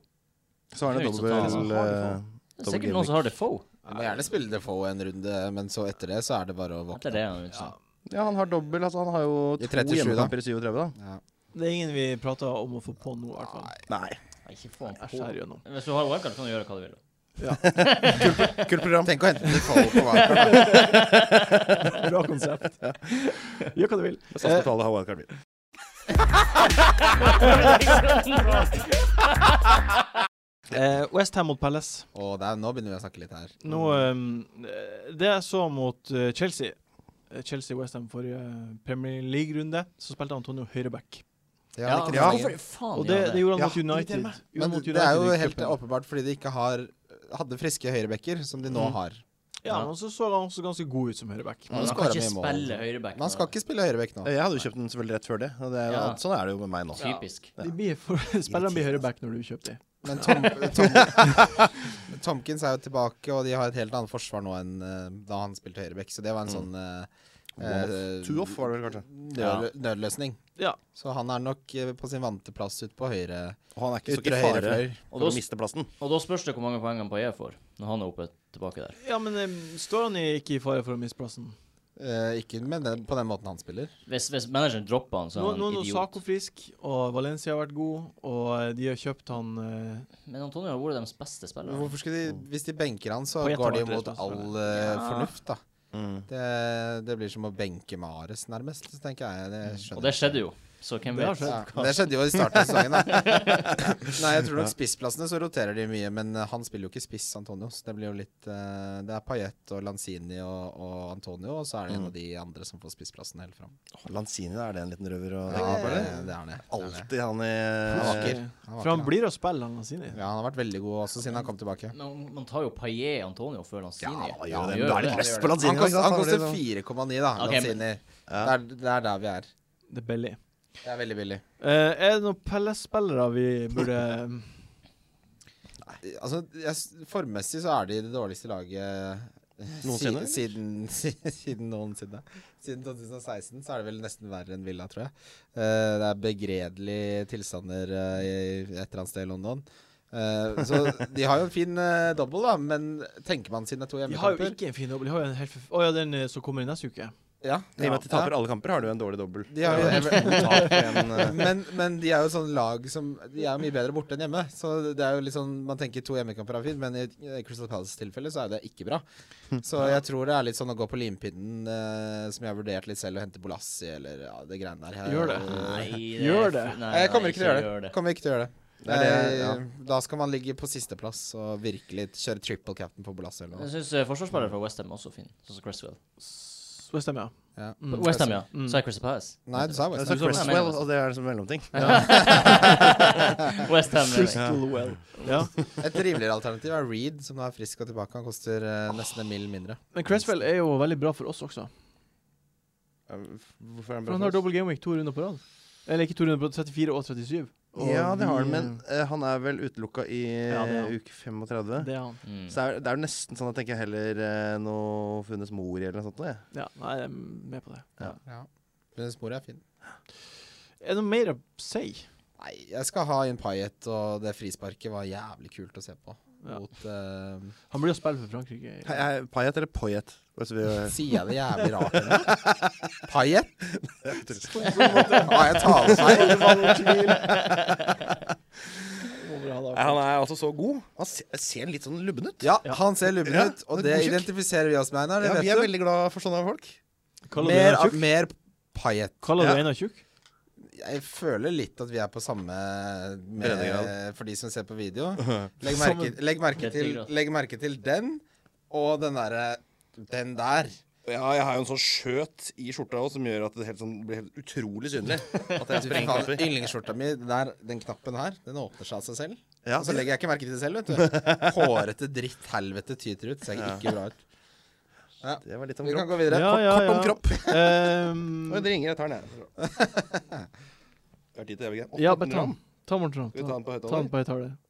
Så er det Det er jo ikke så dobbel Det eh, er Double sikkert game noen som har Defoe. Jeg må gjerne spille Defoe en runde, men så etter det så er det bare å Etter våkne. det, han liksom- vil si. Ja, han har dobbel. Altså, han har jo I to 37 da. hjemmekamper i 37, da. Det er ingen vi prater om å få på nå, i hvert fall. Nei. Nei, Ikke få han Jeg på. skjærer gjennom. Hvis du har wildcard, kan du gjøre hva du vil. Kult program. Tenk å (laughs) hente Defoe på Wildcard. Bra (laughs) konsept. Gjør hva du vil. Jeg satser på at alle har wildcard. min. Eh, Westham mot Palace. Og det er, nå begynner vi å snakke litt her. Nå, eh, det jeg så mot eh, Chelsea eh, Chelsea-Westham forrige eh, Premier League-runde, så spilte Antonio høyreback. Det har han ikke ja, noe lenger. hvorfor faen Og gjør det, han det gjorde han Ja, mot United. Gjorde han Men mot det er United jo i helt cupen. åpenbart fordi de ikke har hadde friske høyrebekker, som de nå Mm. har. Ja, men så så han også ganske god ut som høyreback. Men Han han kan skårer ikke mye mål. spille høyreback. Men han skal ikke spille høyrebekk nå. Eh, Jeg hadde jo kjøpt den selvfølgelig rett før det. Og det er, Ja. Sånn er det jo med meg nå. Typisk. De blir (laughs) for, spillerne blir høyreback når du kjøper dem. Men Tom, Tom, (laughs) Tomkins er jo tilbake, og de har et helt annet forsvar nå enn eh, da han spilte høyrebekk. Så det var en sånn eh, One-off. eh, Two-off var det vel kanskje. nødlø- nødløsning. Ja. Så han er nok eh, på sin vante plass ut på høyre Og han er ikke så ytre ikke høyre fare fløy. Og da for å miste plassen. Og da spørs det hvor mange poeng han Paillet får, når han er oppe tilbake der. ja, men eh, står han i- ikke i fare for å miste plassen? Eh, ikke med den, på den måten han spiller. Hvis, hvis manageren dropper han, så Nå, er han nå, nå idiot. Saco frisk, og Valencia har vært god, og eh, de har kjøpt han eh, Men Antonio har vært deres beste spiller. Hvorfor skulle de, Hvis de benker han, så På etter går de hvert mot resultat, all eh, fornuft, da. Det, det blir som å benke Mares, nærmest, tenker jeg. Det Og Mm. skjønner det jeg ikke. skjedde jo. Så hvem Det har vet? skjedd. Ja, det skjedde jo i starten av sesongen, da. (laughs) Nei, jeg tror nok spissplassene så roterer de mye, men eh, han spiller jo ikke spiss, Antonio. Så det blir jo litt eh, Det er Payet og Lanzini og, og Antonio, og så er det en av de andre som får spissplassen helt fram. Lanzini, da, er det en liten røver? Og Ja, det, det er han, ja. Det er han, ja. Alltid han i Han vakker. Han eh, For han vakker, blir å spille, han Lanzini. ja. ja, han har vært veldig god også siden han kom tilbake. Men man tar jo Paillet Antonio før Lanzini. Ja, han Ja, gjør han det. Da er det det. press på Han Lanzini. koster, han koster fire 4,9, da, Ok, men- Lanzini. Det er, det er der vi er. Det er billig. Det er veldig billig. Eh, er det noen Pelles-spillere vi burde (laughs) Altså, jeg, s- Formmessig så er de det dårligste laget eh, Noensinne, Siden, (laughs) siden, siden noensinne. Siden 2016 så er det vel nesten verre enn Villa, tror jeg. Eh, det er begredelige tilstander eh, i et eller annet sted i London. Eh, så de har jo en fin uh, dobbel, da, men tenker man siden det er De to har jo hjemmekamper ikke en fin dobbel. De har jo en helt forf- Å ja, den eh, som kommer i neste uke. ja, I og med at de ja. taper alle kamper, har du en dårlig dobbel. De har jo Ja. Ever- To tap, en, (laughs) eh, men, men de er jo sånn lag som De er jo mye bedre borte enn hjemme. Så det er jo litt sånn Man tenker to hjemmekamper er fint, men i eh, Crystal Palace-tilfellet så er jo det ikke bra. Så jeg tror det er litt sånn å gå på limpinnen, eh, som jeg har vurdert litt selv, og hente Bolassi eller ja, det greiene der. Jeg, Gjør det. Nei. Nei, Gjør er f- det. Nei, Jeg kommer nei, ikke til å gjøre gjør det. Kommer ikke til å gjøre det. Det er det, Eh, ja. Da skal man ligge på sisteplass og virkelig kjøre triple captain på Bolassi eller Jeg noe. syns forsvarsspillere fra Westham også er fin, sånn som Cresswell. S- West Ham, ja. Ja. Mm. Westham, ja. Mm. Så er Crystal Palace. Nei, (laughs) du sa Jeg West Crystal sa Ham. sånn Cresswell, Palace. og det er liksom mellomting. (laughs) Westham. Crystal Well. Ja. Et rimeligere alternativ er Reed, som nå er frisk og tilbake. Han koster eh, nesten en mill mindre. Men Cresswell er jo veldig bra for oss også. Hvorfor er han For bra han har for oss? dobbel gameweek to runder på rad. Eller ikke to runder på rad, 34 og 37. Og Ja, det har han, vi- men eh, han er vel utelukka i Ja, det er han. uke 35. Det er han. Mm. Så er, det er jo nesten sånn at jeg tenker heller eh, noe funnes mor i eller noe sånt. nå, Jeg. Ja, nei, jeg er med på det. Ja. Men sporet er fint. Er det noe mer å si? Nei, jeg skal ha inn Payet, og det frisparket var jævlig kult å se på. Ja. Mot eh, Han blir å spille for Frankrike. Hei, hei, Payet eller Poyet? Bare (laughs) så vi- Sier jeg det jævlig rart? eller? (laughs) Payet? Nei, Har jeg talefeil? Nei, Han er altså så god. Han se- ser litt sånn lubben ut. Ja, han ser lubben Ja, ut, og det det er god sjekk. identifiserer vi oss med, Einar. Ja, Det vi er vet du. veldig glad for sånne (laughs) folk. Kaller du Mer, Einar tjukk? mer Payet. Kaller Ja. du Einar tjukk? Jeg føler litt at vi er på samme med, Breddegrad. for de som ser på video. Legg merke, legg merke, til, Breddegrad. legg merke til den, og den derre Den der. Ja, jeg har jo en sånn skjøt i skjorta også, som gjør at det helt sånn, blir helt utrolig synlig. At jeg springer Faen, kapper. Yndlingsskjorta mi, den der, den knappen her, den åpner seg av seg selv. (laughs) Ja, Og så legger jeg ikke merke til det selv, vet du. Hårete dritthelvete tyter ut. Ser ikke bra ut. det var litt om Vi kan kropp. Mm. gå videre. Ja, Kort- ja, kort om ja. kropp. Ehm, Oi, det ringer. Jeg tar den, jeg. (laughs) Det er tid til evig greie. ja, bare Morten ta Ramm. han. Ta Morten Ramm. Skal vi ta Ta- den på Ta han høyttaler? på høyttaler.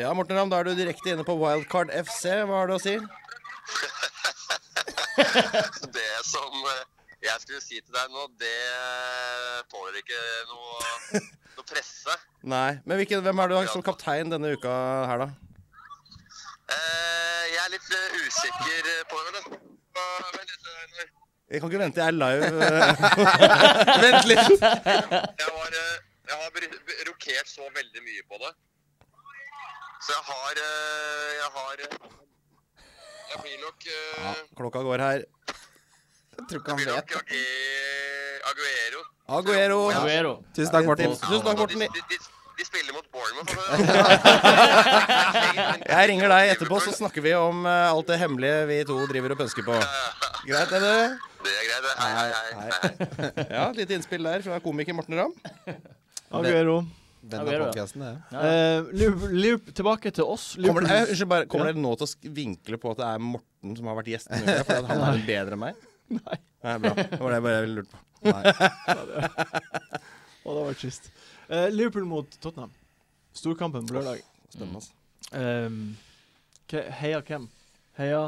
Ja, Morten Ramm, da er du direkte inne på Wildcard FC. Hva har du å si? (laughs) det som eh, jeg skulle si til deg nå, det tåler ikke noe, noe presse. Nei. Men hvilken, hvem er du som kaptein denne uka her, da? Eh, jeg er litt eh, usikker på det. men- Eh, Men litt, eh, Jeg kan ikke vente, jeg er live. (laughs) Vent litt. jeg, var, eh, jeg har br- br- rokert så veldig mye på det. Så jeg har eh, Jeg har eh, Jeg blir nok eh, Klokka går her. Jeg tror ikke han blir nok vet. Age- Aguero. Aguero. Aguero. Tusen takk, Morten. Tusen takk, Morten. De, de, de spiller mot Bournemouth. (laughs) altså. Jeg ringer deg etterpå, så snakker vi om eh, alt det hemmelige vi to driver og pønsker på. Greit, er det? Det er greit. det. Hei, hei, hei. hei. Ja, et lite innspill der fra komiker Morten Ramm. Aguero. Venn av Aguero, ja. podcasten, det. Ja, ja. Eh, Liverpool- Liverpool- tilbake til oss. Kommer, det, eh, Liverpool- unnskyld, bare, kommer dere nå til å sk- vinkle på at det er Morten som har vært (laughs) gjest? denne uka, Fordi at han er jo bedre enn meg? Nei. Nei, bra. Det var det jeg bare lurte på. Å, det var trist. Eh, Liverpool mot Tottenham. Storkampen på lørdag. Stemme, altså. Ehm, ke- heia hvem? Heia,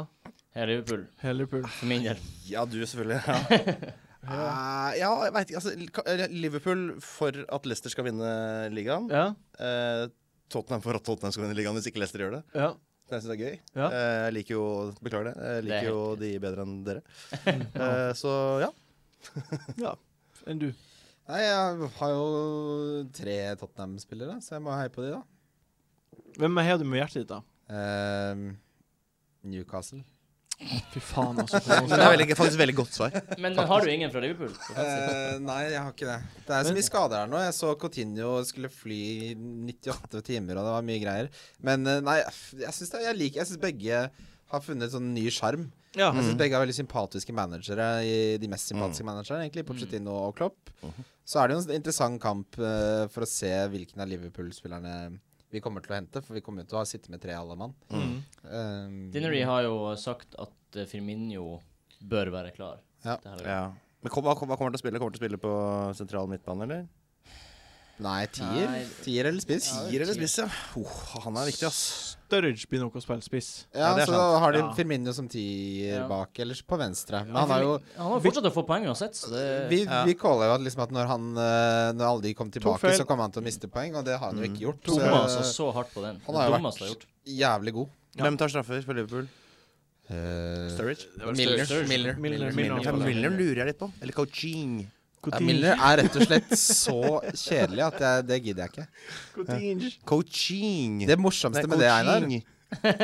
Her er Liverpool, heia Liverpool. for min del. Ja, du selvfølgelig. Ja, Eh, ja jeg veit ikke. Altså, Li- ka- Liverpool for at Leicester skal vinne ligaen. Ja, Eh, Tottenham for at Tottenham skal vinne ligaen hvis ikke Leicester gjør det. ja. Det syns jeg er gøy. Ja. Eh, Jeg liker jo Beklager det. Jeg Det er liker jo helt de bedre enn dere. Eh, Så ja. ja. Enn du? Nei, jeg har jo tre Tottenham-spillere, så jeg må heie på de, da. Hvem heier du med hjertet ditt, da? Ehm, Eh, Newcastle. Fy faen, altså. for noe Det er veldig, faktisk veldig godt (laughs) svar. Men har du ingen fra Liverpool? på fantasy? Eh, nei, jeg har ikke det. Det er så mye skader her nå. Jeg så Coutinho skulle fly i 98 timer, og det var mye greier. Men eh, nei, jeg syns jeg liker Jeg syns begge har funnet sånn ny sjarm. Ja. Jeg syns begge er veldig sympatiske managere, i- de mest sympatiske managerne, egentlig. Pochettino og Klopp. Så er det jo en interessant kamp eh, for å se hvilken av Liverpool-spillerne vi kommer til å hente, for vi kommer jo til å ha sitte med tre alle mann. Mm. Eh, Dinnery har jo sagt at eh, Firmino bør være klar. Ja. Det her er- (laughs) Ja. Men kom, hva kom- hva kommer han til å spille? Kommer han til å spille på sentral midtbane, eller? Nei, tier. Nei. Tier eller spiss? Tier eller spiss, ja. Oh, han er viktig, ass. Sturridge begynner nok å spille spiss. Ja, Ja, det er så sant. da har de Ja. Firmino som tier Ja. eh, bak, eller på venstre. Men han har jo Han har fortsatt å få poeng uansett, så det vi, vi caller jo at, liksom at når, han, eh, når alle de kom tilbake, feil. så kom han til å miste poeng, og det har han jo ikke gjort. Dumma altså Så så hardt på den. det han har jo dummeste jeg har gjort. jævlig god. Eh, Hvem tar straffer for Liverpool? Sturridge? Milner. Milner. Milner. Milner. Ja, Milner lurer jeg litt på. Eller Coutinho. Ja, Milner er rett og slett så kjedelig at jeg, det gidder jeg ikke. Coutinho. Coutinho. Det morsomste med det, Einar,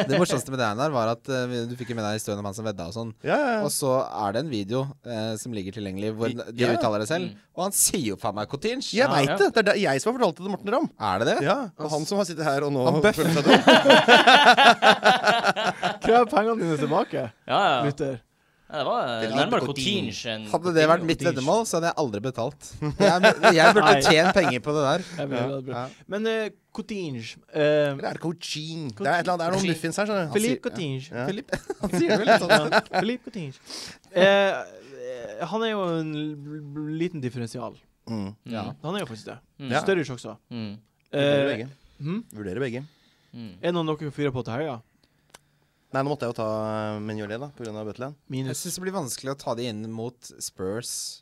Det morsomste med det Einar var at eh, vi- du fikk jo med deg historien om han som vedda og sånn. Ja, ja. Og så er det en video eh, som ligger tilgjengelig hvor de Ja. uttaler det selv, og han sier jo faen meg Coutinho. Jeg veit ja. det! Det er det- jeg som har fortalt det til Morten Ramm. Er det det? Ja, og han som har sittet her og nå Han bøffer. føler seg dum. Krev pengene dine tilbake, Ja, ja. lytter. ja det var eh, Det er lite nærmere Coutinho. Coutinho enn Hadde det vært mitt veddemål, så hadde jeg aldri betalt. Jeg, jeg burde Nei. tjene penger på det der. Jeg vil, det er bra. Ja. Men uh, Coutinho eh, Eller er det Coutinho? Det er, et eller annet, det er noen Coutinho. muffins her. skjønner du. Philippe Coutinho. Ja. Philip. Han sier det litt sånn. Philippe Coutinho. Eh, eh, han er jo en l- l- liten differensial. Mm. Ja. Han er jo faktisk det. Mm. Ja. Sturridge også. Mm. Vurderer Eh, begge. hm? Vurderer begge. Mm. Er noen dere fyrer på til helga? Nei, nå måtte jeg jo ta eh, Mignolet, da, pga. Butland. Jeg Minus syns det blir vanskelig å ta de inn mot Spurs.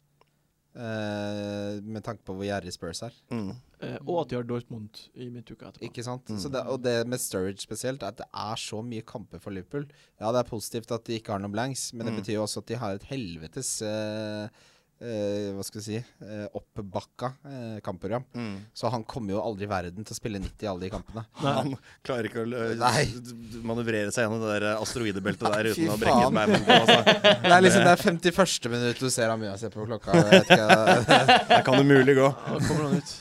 eh, med tanke på hvor gjerrig Spurs er. Mm. eh, Og at de har Dortmund i midtuka etterpå. Ikke sant? Så det, og det med Sturridge spesielt, er at det er så mye kamper for Liverpool. Ja, det er positivt at de ikke har noen blanks, men det betyr jo også at de har et helvetes eh, eh, hva skal vi si eh, oppbakka eh, kampprogram. Mm. Så han kommer jo aldri i verden til å spille 90 i alle de kampene. Han klarer ikke å eh, Nei. d- d- manøvrere seg gjennom det der eh, asteroidebeltet der Fy uten å brekke faen. et bein. Altså. (laughs) Det er liksom det er 51. minutt du ser Amund se på klokka. Jeg vet ikke. (laughs) Det kan umulig gå. Da kommer han ut.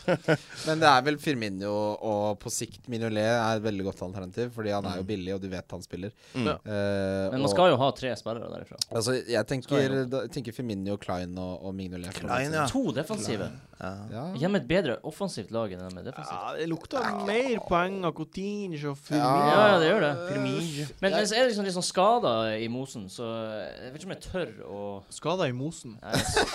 Men det er vel Firmino og på sikt Minolet er et veldig godt alternativ, fordi han er jo billig, og du vet han spiller. Mm. Ja. Eh, Men og- man skal jo ha tre spillere derifra. Altså, jeg Skal tenker, jo. da, jeg tenker Firmino, Klein og, og Mignolet. Klein, ja. To defensive. Ja. Hjemme et bedre offensivt lag enn med defensivt. Ja, det lukter mer poeng av Coutinho og Ja, Firmino. ja, det gjør det. Men så er det liksom litt sånn skader i mosen, så jeg vet ikke om jeg tør å Skader i mosen. Nei, Jeg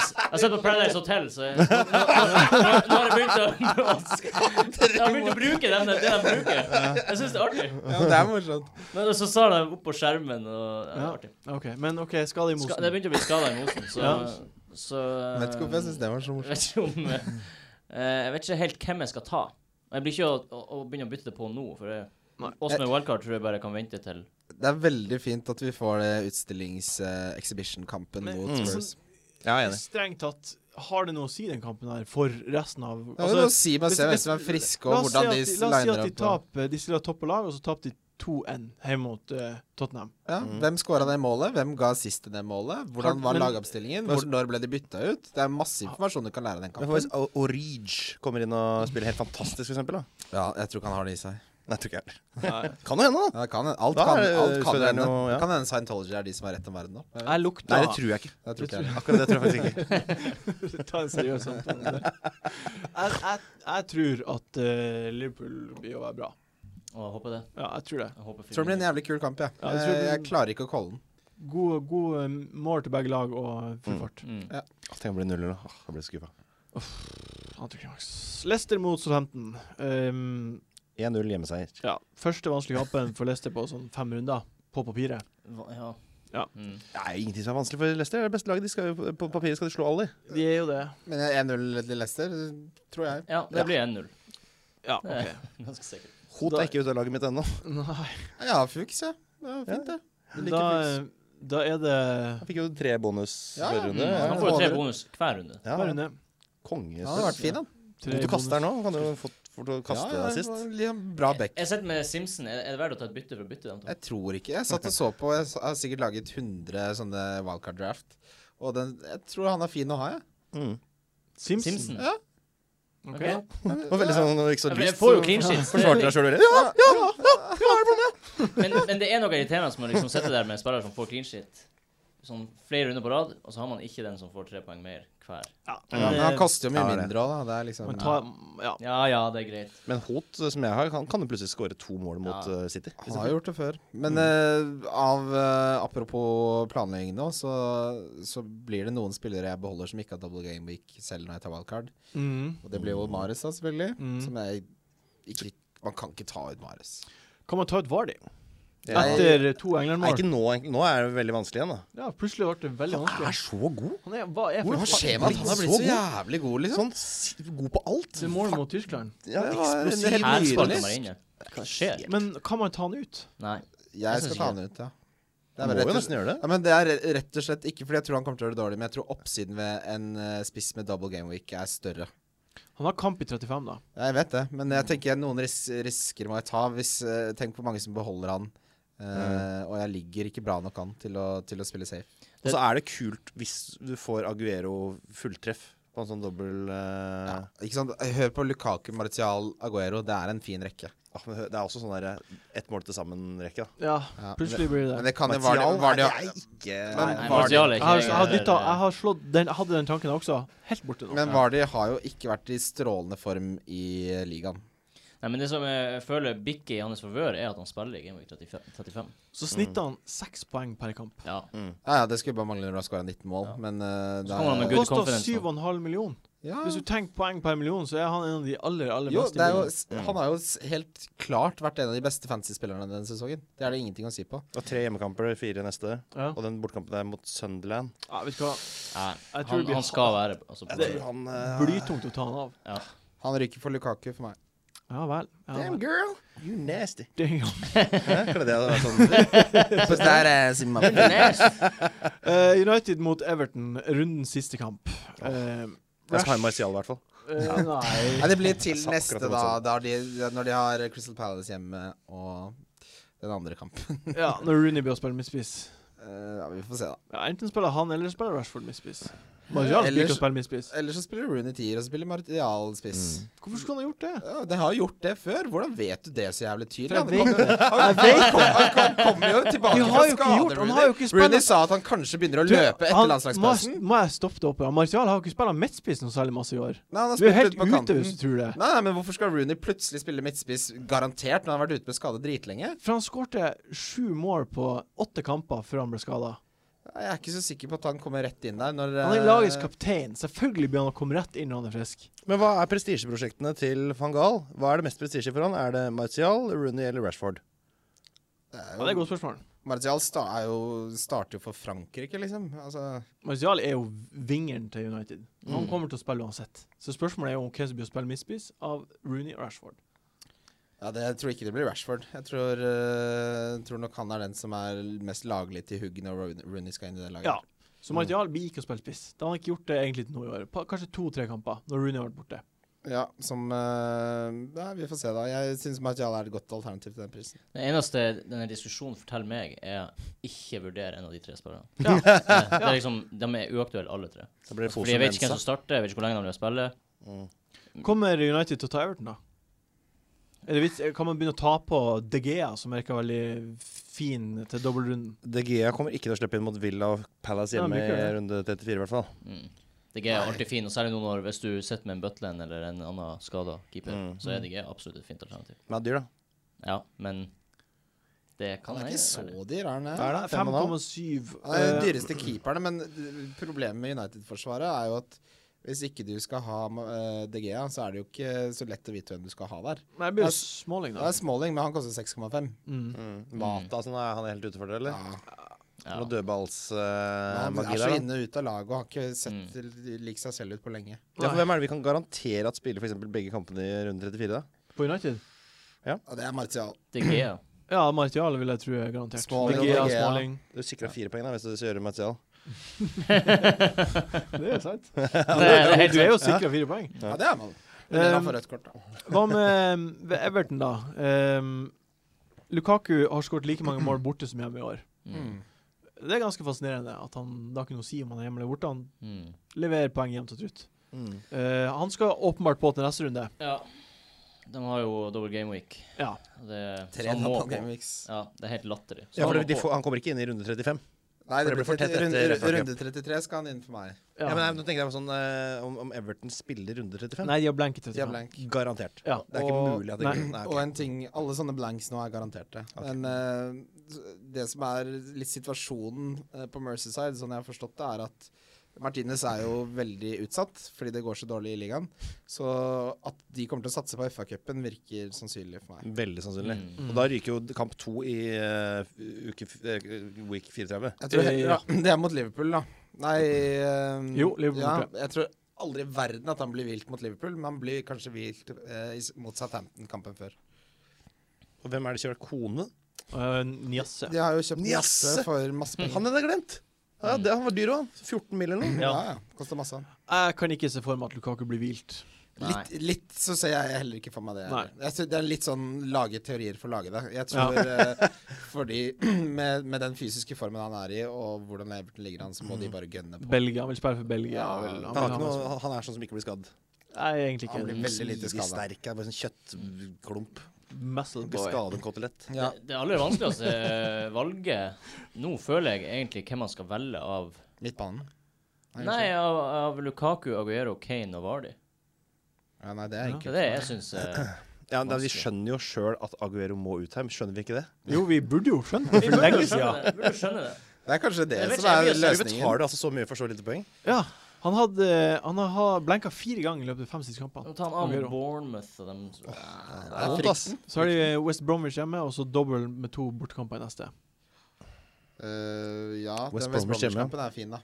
s- jeg har sett på Paradise Hotel, så jeg, nå, nå, nå, nå har jeg begynt å Jeg har begynt å bruke den, det de bruker. Jeg syns det er artig. det er morsomt. Men så sa de opp på skjermen, og ja, det er artig. OK, men OK, skader i Ska, det mosen. begynte å bli skader i mosen, så, så Vet ikke hvorfor jeg syns det var så Jeg morsomt. vet ikke om eh, eh, Jeg vet ikke helt hvem jeg skal ta. Jeg blir ikke å, å, å begynne å bytte det på nå, for det- Nei. oss med wildcard tror jeg bare kan vente til Det er veldig fint at vi får det utstillings-exhibition-kampen Men- mot Mm. Spurs. Ja, jeg er enig. Strengt tatt, har det noe å si den kampen her for resten av Ja, men nå si meg hvis- se hvem hvis- som er friske, La og oss si hvordan at de de, la oss si liner at de opp. og- taper De stiller topp på lag, og så tapte de 2-1 hjemme mot eh, Tottenham. Ja, hvem skåra det målet? Hvem ga sist til det målet? Hvordan var Men- lagoppstillingen? Hvor, når ble de bytta ut? Det er masse informasjon du kan lære av den Men hvis kampen. O- Orige kommer inn og spiller helt fantastisk, for eksempel, da. Ja, jeg tror ikke han har det i seg. Nei, tror ikke jeg heller. (laughs) Kan jo hende, da. Ja, det kan, alt Da kan, er det- alt kan føler jeg hende. noe- ja. Kan hende Scientology er de som har rett om verden nå. Jeg vet- Jeg lukta Nei, det tror jeg ikke. Jeg tror ikke det. Akkurat det tror jeg faktisk ikke. Ta en seriøs samtale. om det. Jeg, jeg, jeg tror at eh, Liverpool blir å være bra. Å, jeg håper det. Ja, jeg tror det. Jeg håper Tror det blir en jævlig kul kamp, jeg. Ja, jeg tror det jeg, blir- jeg klarer ikke å calle den. God, god eh, mål til begge lag og full fart. Mm. (laughs) Åh, Tenk om det blir nuller, da. Åh, Da blir jeg skuffa. Antiklimaks. Leicester mot Southampton. Um, 1-0 hjemmeseier. ja, første vanskelige kampen for Leicester på sånn fem runder, på papiret. Hva- Ja. Ja. Mm. Det er ingenting som er vanskelig for Leicester. Det er det beste laget. De skal, jo- på papiret skal de slå alle. De er jo det. Men 1-0 til Leicester, tror jeg. ja det blir 1-0. Ja, Det OK. (laughs) er (laughs) Ganske sikkert. Hot er ikke ute av laget mitt (laughs) ennå. Nei, Ja, Fuchs, ja. Det er fint, det. Jeg da, eh, liker Fuchs. da er det Han fikk jo tre bonus Ja, ja. hver runde. Mm. Han får jo tre bonus hver runde. Ja, Hver runde. Konge. Han har vært fin, han. Tre du kaster bonus. den nå. Kan du jo fått for å kaste ja, assist. det var liksom Bra back. Jeg sitter med Simpson. Er, er det verdt å ta et bytte for å bytte dem to? Jeg tror ikke Jeg satt og så på. Jeg s- har sikkert laget 100 sånne wildcard draft. Og den, jeg tror han er fin å ha, jeg. Simpson. Simpson. Ja. Ok. Ok. Det var veldig sånn, ikke så Jeg lyst. får jo så clean sheets. (laughs) det er Forsvarte litt- deg sjøl veldig. Ja, ja, Men, men det er noe irriterende som å liksom sitte der med en spiller som får clean shit sånn flere runder på rad, og så har man ikke den som får tre poeng mer hver. Ja. Eh, Ja, men han koster jo mye Ja, det- mindre òg, da. Det er liksom Man tar Ja. Ja ja, det er greit. Men Hot, som jeg har, han kan jo plutselig skåre to mål mot Ja. eh, City. Han har gjort det før. Men eh, av eh, Apropos planlegging nå, så, så blir det noen spillere jeg beholder som ikke har double game week selv når jeg tar wildcard. Mhm. Og det blir jo Mares, da, selvfølgelig. Mm. Som jeg ikke Man kan ikke ta ut Mares. Kan man ta ut Vardy Ja. etter to Nei, England-mål? ikke nå, egentlig. nå er det veldig vanskelig igjen, da. Ja, plutselig ble det veldig vanskelig. er så god. Han er, hva er for Hva skjer med at han har blitt så jævlig god, liksom? Sånn s- god på alt. Det er mål mot Tyskland. Ja, Det var en eksplosiv. helt- Her nydelig. sparker man inne. Hva skjer? Men kan man ta han ut? Nei. Jeg Jeg skal synes ta ikke. han ut, ja. Han rett må og- jo nesten gjøre det. Ja, men det er re- rett og slett ikke fordi jeg tror han kommer til å gjøre det dårlig, men jeg tror oppsiden ved en eh, spiss med double game week er større. Han har kamp i 35, da. Jeg vet det, men jeg tenker noen ris risker må jeg ta. Hvis, eh, tenk på mange som beholder han. eh, Og jeg ligger ikke bra nok an til å, til å spille safe. Og så er det kult hvis du får Aguero fulltreff på en sånn dobbel eh, Ikke sant? Hør på Lukaku, Martial, Aguero. Det er en fin rekke. ah, men Det er også sånn derre ett mål til sammen-rekke, da. Ja, Ja, plutselig blir det Men det. det kan jo Martial, være var det, nei, det er ikke Men Nei, Nei, var det- Martial er Jeg ikke har, jeg har, lenger- dyttet, jeg har slått den, jeg hadde den tanken også. Helt borte nå. Men Vardy har jo ikke vært i strålende form i eh, ligaen. Nei, men det som jeg føler bikker i hans favør, er at han spiller i Game Week 35. 35. Så snittet han seks poeng per kamp. Ja. Ja, ja, det skulle bare mangle når du har skåra 19 mål, Ja. men eh, det Så kommer han med Det good koster confidence nå. 7,5 million. ja. Hvis du tenker poeng per million, så er han en av de aller, aller Jo, beste. det er jo, i ligaen. s- han har jo s- helt klart vært en av de beste fantasy-spillerne denne sesongen. Det er det ingenting å si på. Det var tre hjemmekamper, fire neste. Ja. Og den bortkampen der mot Sunderland. Ja, vet du hva? Nei, Jeg tror han, vi- han skal være altså, på Jeg tror det. han Ah. eh, Blytungt å ta han av. Ja. Han ryker for Lukaku for meg. Ja vel. Ja, Damn vel. girl, you nasty. Damn. (laughs) Hæ? Kan det være sånn Eh, United mot Everton, rundens siste kamp. Eh, Jeg skal ha en Martial, i hvert fall. eh, nei Nei, det blir til Sa (laughs) neste, akkurat det da. motsatte. da har de, når de har Crystal Palace hjemme og den andre kampen. (laughs) Ja, når Rooney blir å spille midtspiss. Eh, ja, vi får se, da. Ja, enten spiller han, eller spiller Rashford midtspiss. Martial spiller ikke Ellers- å spille midtspiss. Eller så spiller Rooney tier, og så spiller Martial spiss. Hvorfor skulle han ha gjort det? Ja, de har gjort det før. Hvordan vet du det så jævlig tydelig? For jeg Han kommer- Han kom- han kom- kommer jo tilbake De har fra jo ikke skade, gjort- han Rooney. har jo ikke spilt- Rooney sa at han kanskje begynner å løpe Du, etter han- landslagsplassen. Må, jeg- må jeg stoppe det opp? her? Martial har jo ikke spilt midtspiss noe særlig masse i år. Nei, han har Du er spilt helt ute på ute kanten. hvis du tror det. Nei, nei, men hvorfor skal Rooney plutselig spille midtspiss garantert når han har vært ute med skade dritlenge? For han skårte sju mål på åtte kamper før han ble skada. Nei, Jeg er ikke så sikker på at han kommer rett inn der når Han er eh, lagets kaptein. Selvfølgelig blir han å komme rett inn når han er frisk. Men hva er prestisjeprosjektene til van Gaal? Hva er det mest prestisje for han? Er det Martial, Rooney eller Rashford? Ja, det er et godt spørsmål. Martial sta er jo, starter jo for Frankrike, liksom. Altså, Martial er jo vingeren til United. Mm. Han kommer til å spille uansett. Så spørsmålet er jo om hvem som blir å spille midtspiss av Rooney og Rashford. ja, det, jeg tror ikke det blir Rashford. Jeg tror, eh, tror nok han er den som er mest laglig til hugg når Rooney- Rooney skal inn i det laget. Ja. Så Martial blir ikke å spille spiss. Da har han ikke gjort det egentlig til nå i år. Pa- Kanskje to-tre kamper, når Rooney har vært borte. Ja, som eh, Nei, vi får se, da. Jeg syns Martial er et godt alternativ til den prisen. det eneste denne diskusjonen forteller meg, er ikke vurdere en av de tre spillerne. Ja. Det, (laughs) det er liksom, de er uaktuelle, alle tre. Da blir det Fordi jeg vet ikke hvem som starter, jeg vet ikke hvor lenge de vil spille. Kommer United til å ta Everton, da? Er det vits? Kan man begynne å ta på De Gea, som virker veldig fin til dobbeltrunden? De Gea kommer ikke til å slippe inn mot Villa og Palace hjemme Nei, men ikke i det. runde 34, i hvert fall. Mm. DG er alltid fin, og særlig nå når hvis du sitter med en Butland eller en annen skada keeper, Mm. så er DG absolutt et fint alternativ. Men det er dyr, da. Ja, men det kan Han er jeg ikke være. så dyr, er han det? Hva er det? Fem og en halv? 5,7. Han er den eh, dyreste keeperne, men eh, problemet med United-forsvaret er jo at hvis ikke du skal ha eh, De Gea, så er det jo ikke så lett å vite hvem du skal ha der. Nei, det blir Ja, jo Smalling, Det da. er Smalling, men han koster 6,5. Mm. Mm. Mata, sånn, er han helt ute for det, eller? Ja. Noe Men altså, han dødballsmagi er så der, da. inne og ut av laget og har ikke sett lik seg selv ut på lenge. Ja, for hvem er det vi kan garantere at spiller for eksempel begge kampene i runde 34, da? På United? Ja, det er Martial. DG, ja. Ja, Martial vil jeg tro er garantert. De Smalling og Gea, De Gea. (laughs) Smalling. Du sikra fire poeng da, hvis du gjør Martial. Det er sant. Det er Du helt er jo (laughs) sant. (laughs) sikra fire poeng. Ja, det er man. Men han Um, får rødt kort, da. Hva med um, ved Everton, da? Um, Lukaku har skåret like mange mål borte som hjemme i år. Mm. Det er ganske fascinerende at han da ikke noe å si om han er hjemme eller borte. Han Mm. leverer poeng jevnt og trutt. Mm. Eh, han skal åpenbart på til neste runde. Ja. De har jo double game week. Ja. og Det, så Tre han må double på. game weeks. Ja, det er helt latterlig. Så Ja, han for må de på. får, han kommer ikke inn i runde 35. Nei, det runde, blir for tett 30 runde, etter FA Cup. runde 33 skal han inn for meg. ja. Ja, men nei, Nå tenker jeg på sånn eh, om, om Everton spiller runde 35. Nei, de har blank i De er 35. blank. Garantert. Ja. Det er ikke Og- mulig at det nei. nei, Og ok. en ting, alle sånne blanks nå er garanterte. Men eh, det som er litt situasjonen eh, på Mercyside, sånn jeg har forstått det, er at Martinez er jo veldig utsatt fordi det går så dårlig i ligaen. Så at de kommer til å satse på FA-cupen, virker sannsynlig for meg. Veldig sannsynlig. Mm. Og da ryker jo kamp to i eh, uke, f- eh, week 34. Jeg tror Eh, heller, ja. (clears throat) Det er mot Liverpool, da. Nei eh, Jo, Liverpool ja, borte. Jeg tror aldri i verden at han blir vilt mot Liverpool, men han blir kanskje vilt eh, i s- mot Southampton-kampen før. Og hvem er det som har kone? Eh, Niasse. De har jo kjøpt Jasse! masse for masse penger. Han hadde jeg glemt! Ja, det, han var dyr òg. 14 mill. eller noe. Ja, Ja. ja. Koster masse. Jeg kan ikke se for meg at Lukaku blir hvilt. Nei. Litt, litt så ser jeg heller ikke for meg det. Nei. Jeg tror det er litt sånn lage teorier for å lage det. Jeg tror eh, fordi (clears throat) med, med den fysiske formen han er i, og hvordan Everton ligger an, så må de bare gønne på. Belgia. Han vil spille for Belgia. Ja, vel, Han, han har vil ikke ha noe, han er sånn som ikke blir skadd. Nei, egentlig Han blir ikke. veldig lite skadet. Sterk, er bare sånn kjøttklump. Muscle Ikke boy. skade en kotelett. Ja. Det, det aller vanskeligste (laughs) valget nå føler jeg egentlig hvem man skal velge av Midtbanen. Nei, av, av Lukaku, Aguero, Kane og Vardy. Ja, nei, det er Det ikke er det jeg eh, syns (laughs) Ja, men Vi skjønner jo sjøl at Aguero må ut her, men skjønner vi ikke det? Jo, vi burde jo skjønt det for lenge siden. Burde skjønne det. Det er kanskje det Jeg vet som ikke, er jeg blir- Vi løsningen. betaler altså så mye for så lite poeng. Ja. Han hadde Han har blanka fire ganger i løpet av de fem siste kampene. Nå tar han av mot Aguero. Bournemouth og dem Det er vondt, ass. Så har de West Bromwich hjemme, og så dobbel med to bortekamper i neste. Eh, ja, West den West Bromwich hjemme. Bromwich-kampen er fin, da.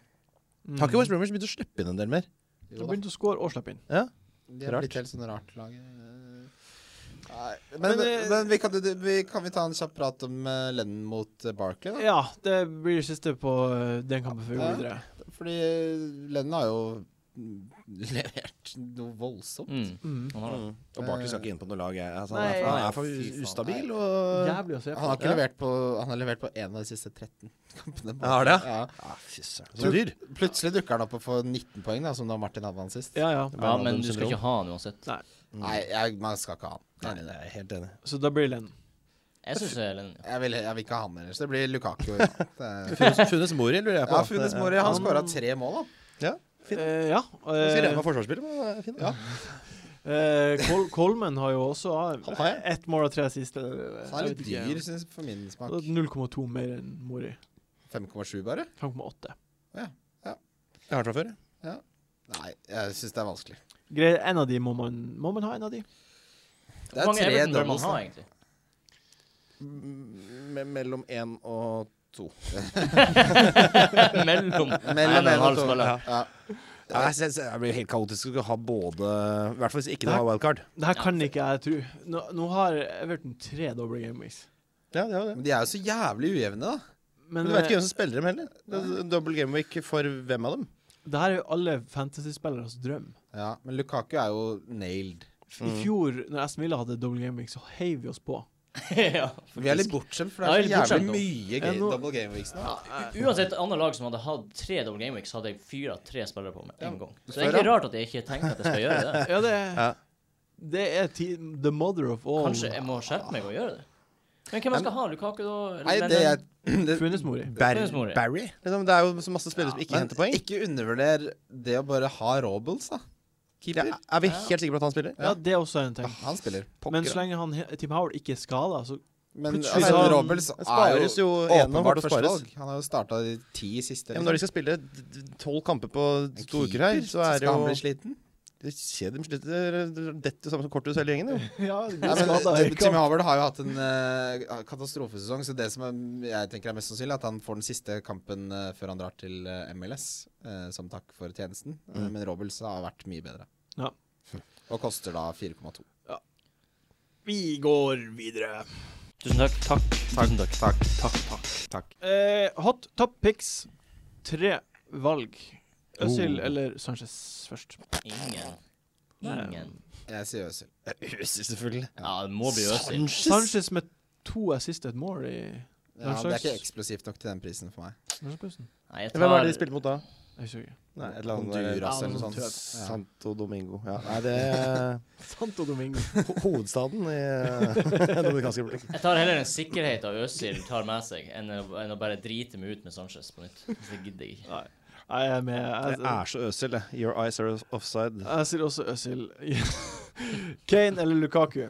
Mm. Har ikke West Bromwich begynt å slippe inn en del mer? De Jo, da. begynte å score og slippe inn. Ja. De er Rart. blitt helt sånn rart lag. eh. Nei, Men, men, eh, men, vi kan, du- vi, kan vi ta en kjapp prat om uh, Lennon mot eh, Barkley? Da? Ja, det blir det siste på eh, den kampen før vi går videre. Fordi eh, Lennon har jo (laughs) mm, levert noe voldsomt. mm. Mm. Han har det. Og Barkley skal ikke inn på noe lag. jeg. Altså, han, Nei. er for, han er Fy faen, for nei. ustabil. Og Jævlig å se Eh, Han har på. ikke levert på Han har levert på én av de siste 13 kampene. Ja, har det? Ja. Ja, fy søren. Så dyr. Plutselig dukker han opp og får 19 poeng, da, som da Martin hadde han sist. Ja, ja. Ja, men du skal ikke ha han uansett. Nei, jeg, man skal ikke ha han. Nei, nei, jeg er helt enig. Så da blir det Lennon. Jeg syns Lennon Jeg vil, jeg vil ikke ha han ellers. Det blir Lukaku. Ja, det er- Funes, Funes Mori lurer jeg på. ja Funes Mori han skåra tre mål, da. Ja, fint. Eh, ja. Jeg skal eh, regne meg forsvarsspiller, men det er fint. Ja. eh, Col Coleman har jo også Han ah, har jeg. ett mål av tre siste. eh, Han jeg er litt vet ikke. dyr, synes jeg, for min smak. Så det er 0,2 mer enn Mori. 5,7 bare? 5,8. Jeg har den fra før. jeg. Nei, jeg syns det er vanskelig. Greit, en av de må man Må man ha en av de? Det Hvor er mange tre Everton bør man doubles. ha, da. egentlig? (laughs) M- me- Mellom én og to. Mellom Mellom Nei, én og halv to. spiller. Ja. Ja, jeg, synes- jeg blir helt kaotisk å ha både I hvert fall hvis ikke du har wildcard. Det her kan ikke jeg tro. Nå, nå har Everton tre doble gameweeks. Ja, det er det. Men de er jo så jævlig ujevne, da. Men Men du vet ikke eh, hvem som spiller dem heller. Det er Double game week for hvem av dem? det her er jo alle fantasyspilleres drøm. Ja, men Lukaku er jo nailed. I fjor, når Aston Villa hadde doble gameweek, så heiv vi oss på. (laughs) ja. Vi er litt bortskjemt, for Ja, det er litt så jævlig bortskjemt nå. mye Ja, gøy, nå- double game weeks nå. U- Uansett annet lag som hadde hatt tre double game weeks, hadde jeg fyra tre spillere på med en gang. Så det er egentlig rart at jeg ikke tenkte at jeg skal gjøre det. Ja, det, Ja. det er ti the mother of all. Kanskje jeg må skjerpe meg og gjøre det. Men hvem jeg skal ha? Lukaku, da? Nei, det Lennon? er det, Funes Mori. Barry. Funes Mori. Barry? Liksom, det er jo så masse spillere som ikke Men henter poeng. ikke undervurder det å bare ha Robles, da. Ja, er vi helt sikre på at han spiller? Ja, det er også en ting. Han spiller. Men så lenge han, Tim Howard ikke er skada, så Men Plutselig altså, så- Robles Det er spares jo jo en av åpenbart hvert førstevalg. spares. Han har jo starta de ti siste. Ja, men når de liksom. skal spille d- d- tolv kamper på to uker her, Keeper, så er det Skal han jo bli sliten? Det skjer dem slutt- det detter jo sammen som korthus hele gjengen, (laughs) jo. Ja, Nei, men, eh, Timmy Havard har jo hatt en eh, katastrofesesong, så det som er, jeg tenker er mest sannsynlig, er at han får den siste kampen eh, før han drar til eh, MLS, eh, som takk for tjenesten. Eh, men Robles har vært mye bedre. Ja. Og koster da 4,2. Vi går videre. Tusen takk. Takk. Tusen takk. Eh, hot top picks. Tre valg. Øzil eller Sanchez først. Ingen. Ingen. Jeg sier Øsil. Øsil, selvfølgelig. Ja, det må bli Øzil. Sanchez! Sanchez med to assist et mål i Ja, det er ikke landslags- eksplosivt nok til den prisen for meg. landslagspausen. Nei, jeg Hvem var tar det de spilte mot da? Jeg husker (laughs) ikke. Nei, et eller annet der. Honduras Ja, eller noe noe sånt. sånt. Ja. Santo Domingo. sånn Ja, nei, det (laughs) er Santo Domingo. ho hovedstaden i eh, (laughs) Dominikanske republikk. Jeg tar heller en sikkerhet av Øzil tar med seg, enn å, enn å bare drite meg ut med Sanchez på nytt. Det gidder jeg ikke. Nei, jeg er med. Jeg, Det er så Øsil, det. Your eyes are offside. jeg sier også Øzil. (laughs) Kane eller Lukaku?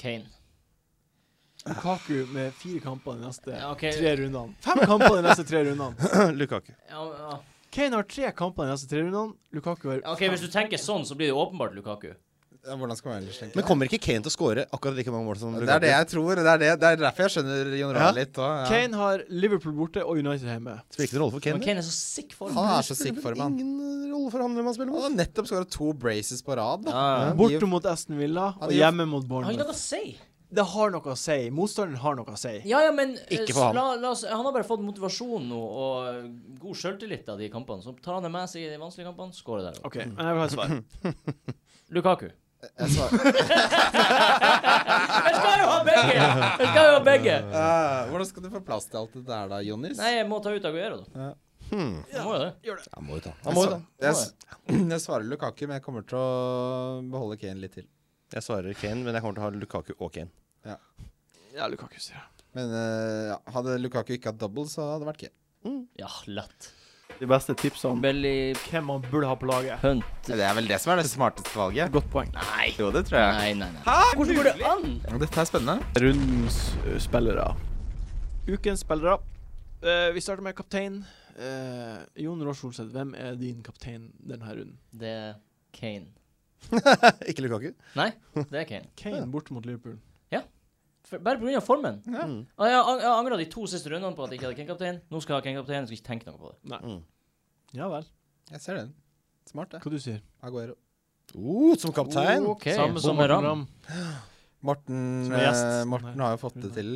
Kane. Lukaku med fire kamper de neste Ja, ok. tre rundene. Fem kamper de neste tre rundene. (clears throat) Lukaku. Ja, ja. Kane har tre kamper de neste tre rundene. Lukaku har OK, hvis du tenker sånn, så blir det åpenbart Lukaku. Ja, hvordan skal man ellers tenke? Men kommer ikke Kane til å skåre akkurat like mange mål som Lukaku? det er det jeg tror. Det er, det. det er derfor jeg skjønner Ja. Jon Rahl litt òg. Ja. Kane har Liverpool borte og United hjemme. Spiller ikke noen rolle for Men Kane. Kane er så sick form. Han er så sick form, han. Ingen eh, rolle for han hvem han spiller Han mot. har nettopp skåra to braces på rad. da. Ja, ja. Borte mot Aston Villa og gir- hjemme mot Han Bournemouth. kan da si. Det har noe å si. Motstanderen har noe å si. Ja, ja, men eh, Ikke for han. La, la oss, han har bare fått motivasjon nå og eh, god sjøltillit av de kampene. Så tar han det med seg i de vanskelige kampene, skårer der. Mm. OK, men jeg vil ha et (clears throat) svar. Lukaku. Jeg svarer- Jeg skal jo ha begge! Jeg skal jo ha begge! Ja, hvordan skal du få plass til alt det der, da, Jonnis? Nei, jeg må ta ut Aguero, da. Hmm. Jeg må jo det. Han må jo ta Jeg han. Må jo ta. svar- jeg, s- (clears throat) jeg svarer Lukaku, men jeg kommer til å beholde Kane litt til. Jeg svarer Kane, men jeg kommer til å ha Lukaku og Kane. Ja, Lukaku, sier jeg. Men eh, ja, hadde Lukaku ikke hatt double, så hadde det vært Kane. Ja, lett. De beste tipsene om Belly hvem man burde ha på laget. Hunt Det er vel det som er det smarteste valget. Godt poeng. Nei. Jo, det tror Nei, nei, nei. Hvordan går det an? Dette er spennende. Rundens ø, spillere. Ukens spillere. Eh, vi starter med kaptein. Eh, Jon Rosh Olseth, hvem er din kaptein denne runden? Det er Kane. (laughs) ikke Lukaku. Nei, det er Kane. Kane borte mot Liverpool. For, bare pga. formen. Ja. Mm. Og Jeg har jeg har angret de to siste rundene på at jeg ikke hadde Kane-kaptein. Nå skal jeg ha Kane-kaptein, jeg skal ikke tenke noe på det. Mm. Ja vel. Jeg ser den. Smart, det. Hva du sier Aguero. Uh, som kaptein. Oh. (laughs) Ok, Samme som Bommer Ram. Ram. Morten, Som er gjest. eh, Morten Nei. har jo fått det til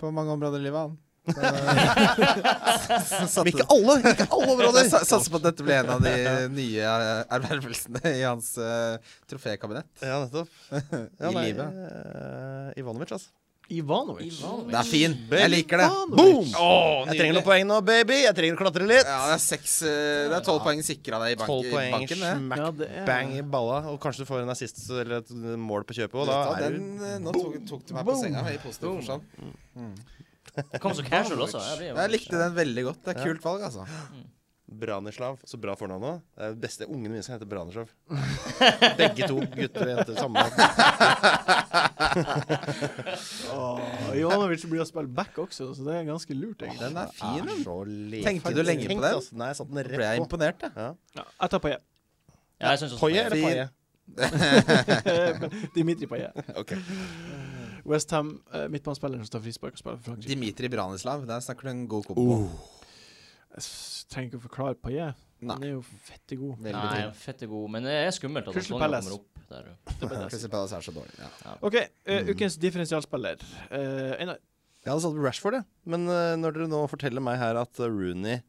på mange områder i livet, han. eh, Men ikke alle! Ikke alle Jeg områder! sa- satser på at dette blir en av de nye eh, ervervelsene i hans eh, trofékabinett. (laughs) Ja, nettopp. (laughs) I livet. eh, Ivanovic, altså. Ivanovic. Det er fin. Jeg liker det. Ivanovic. Boom! jeg trenger noen poeng nå, baby. Jeg trenger å klatre litt. Ja, det er seks eh, Det er tolv poeng sikra deg i, bank, Tolv i poeng, banken. Det. smack, Ja, det er- bang i balla. Og kanskje du får en assist eller et mål på kjøpet. Og da Vet du hva, er den, du eh, nå tok, tok du meg på senga i positiv forstand. Kom så casual også. Jeg, blir jo- Jeg likte den veldig godt. Det er kult valg, altså. Branislav. Så bra fornavn òg. Det er det beste ungene mine skal hete (laughs) Branislav. Begge to gutter og jenter samme navn. Åh, Ivanovic blir å spille back også, så det er ganske lurt, egentlig. Den er fin, den. Så lek- Tenkte du lenge på Tenk, den? altså. Nei, jeg satte den Nå ble jeg rett på. imponert, jeg. Ja. Ja, jeg tar Paillet. Ja, jeg synes også Poye eller Fin. Paye? Eh, Dimitri Paillet. Ok. Westham, uh, midtbanespilleren som tar frispark og spiller for Frankrike. Dimitri Branislav, der snakker du en god kombo. Jeg s- trenger ikke å forklare Paillet. Han Nei. er jo fette god. Veldig Nei, tydelig. fette god, men det er skummelt at Crystal Antonio Palace. kommer opp der. Crystal Palace er så dårlig. Ja. OK, Mm. eh, ukens differensialspiller. Eh, Einar. Jeg hadde satt på Rashford, jeg. Men eh, når dere nå forteller meg her at eh, Rooney,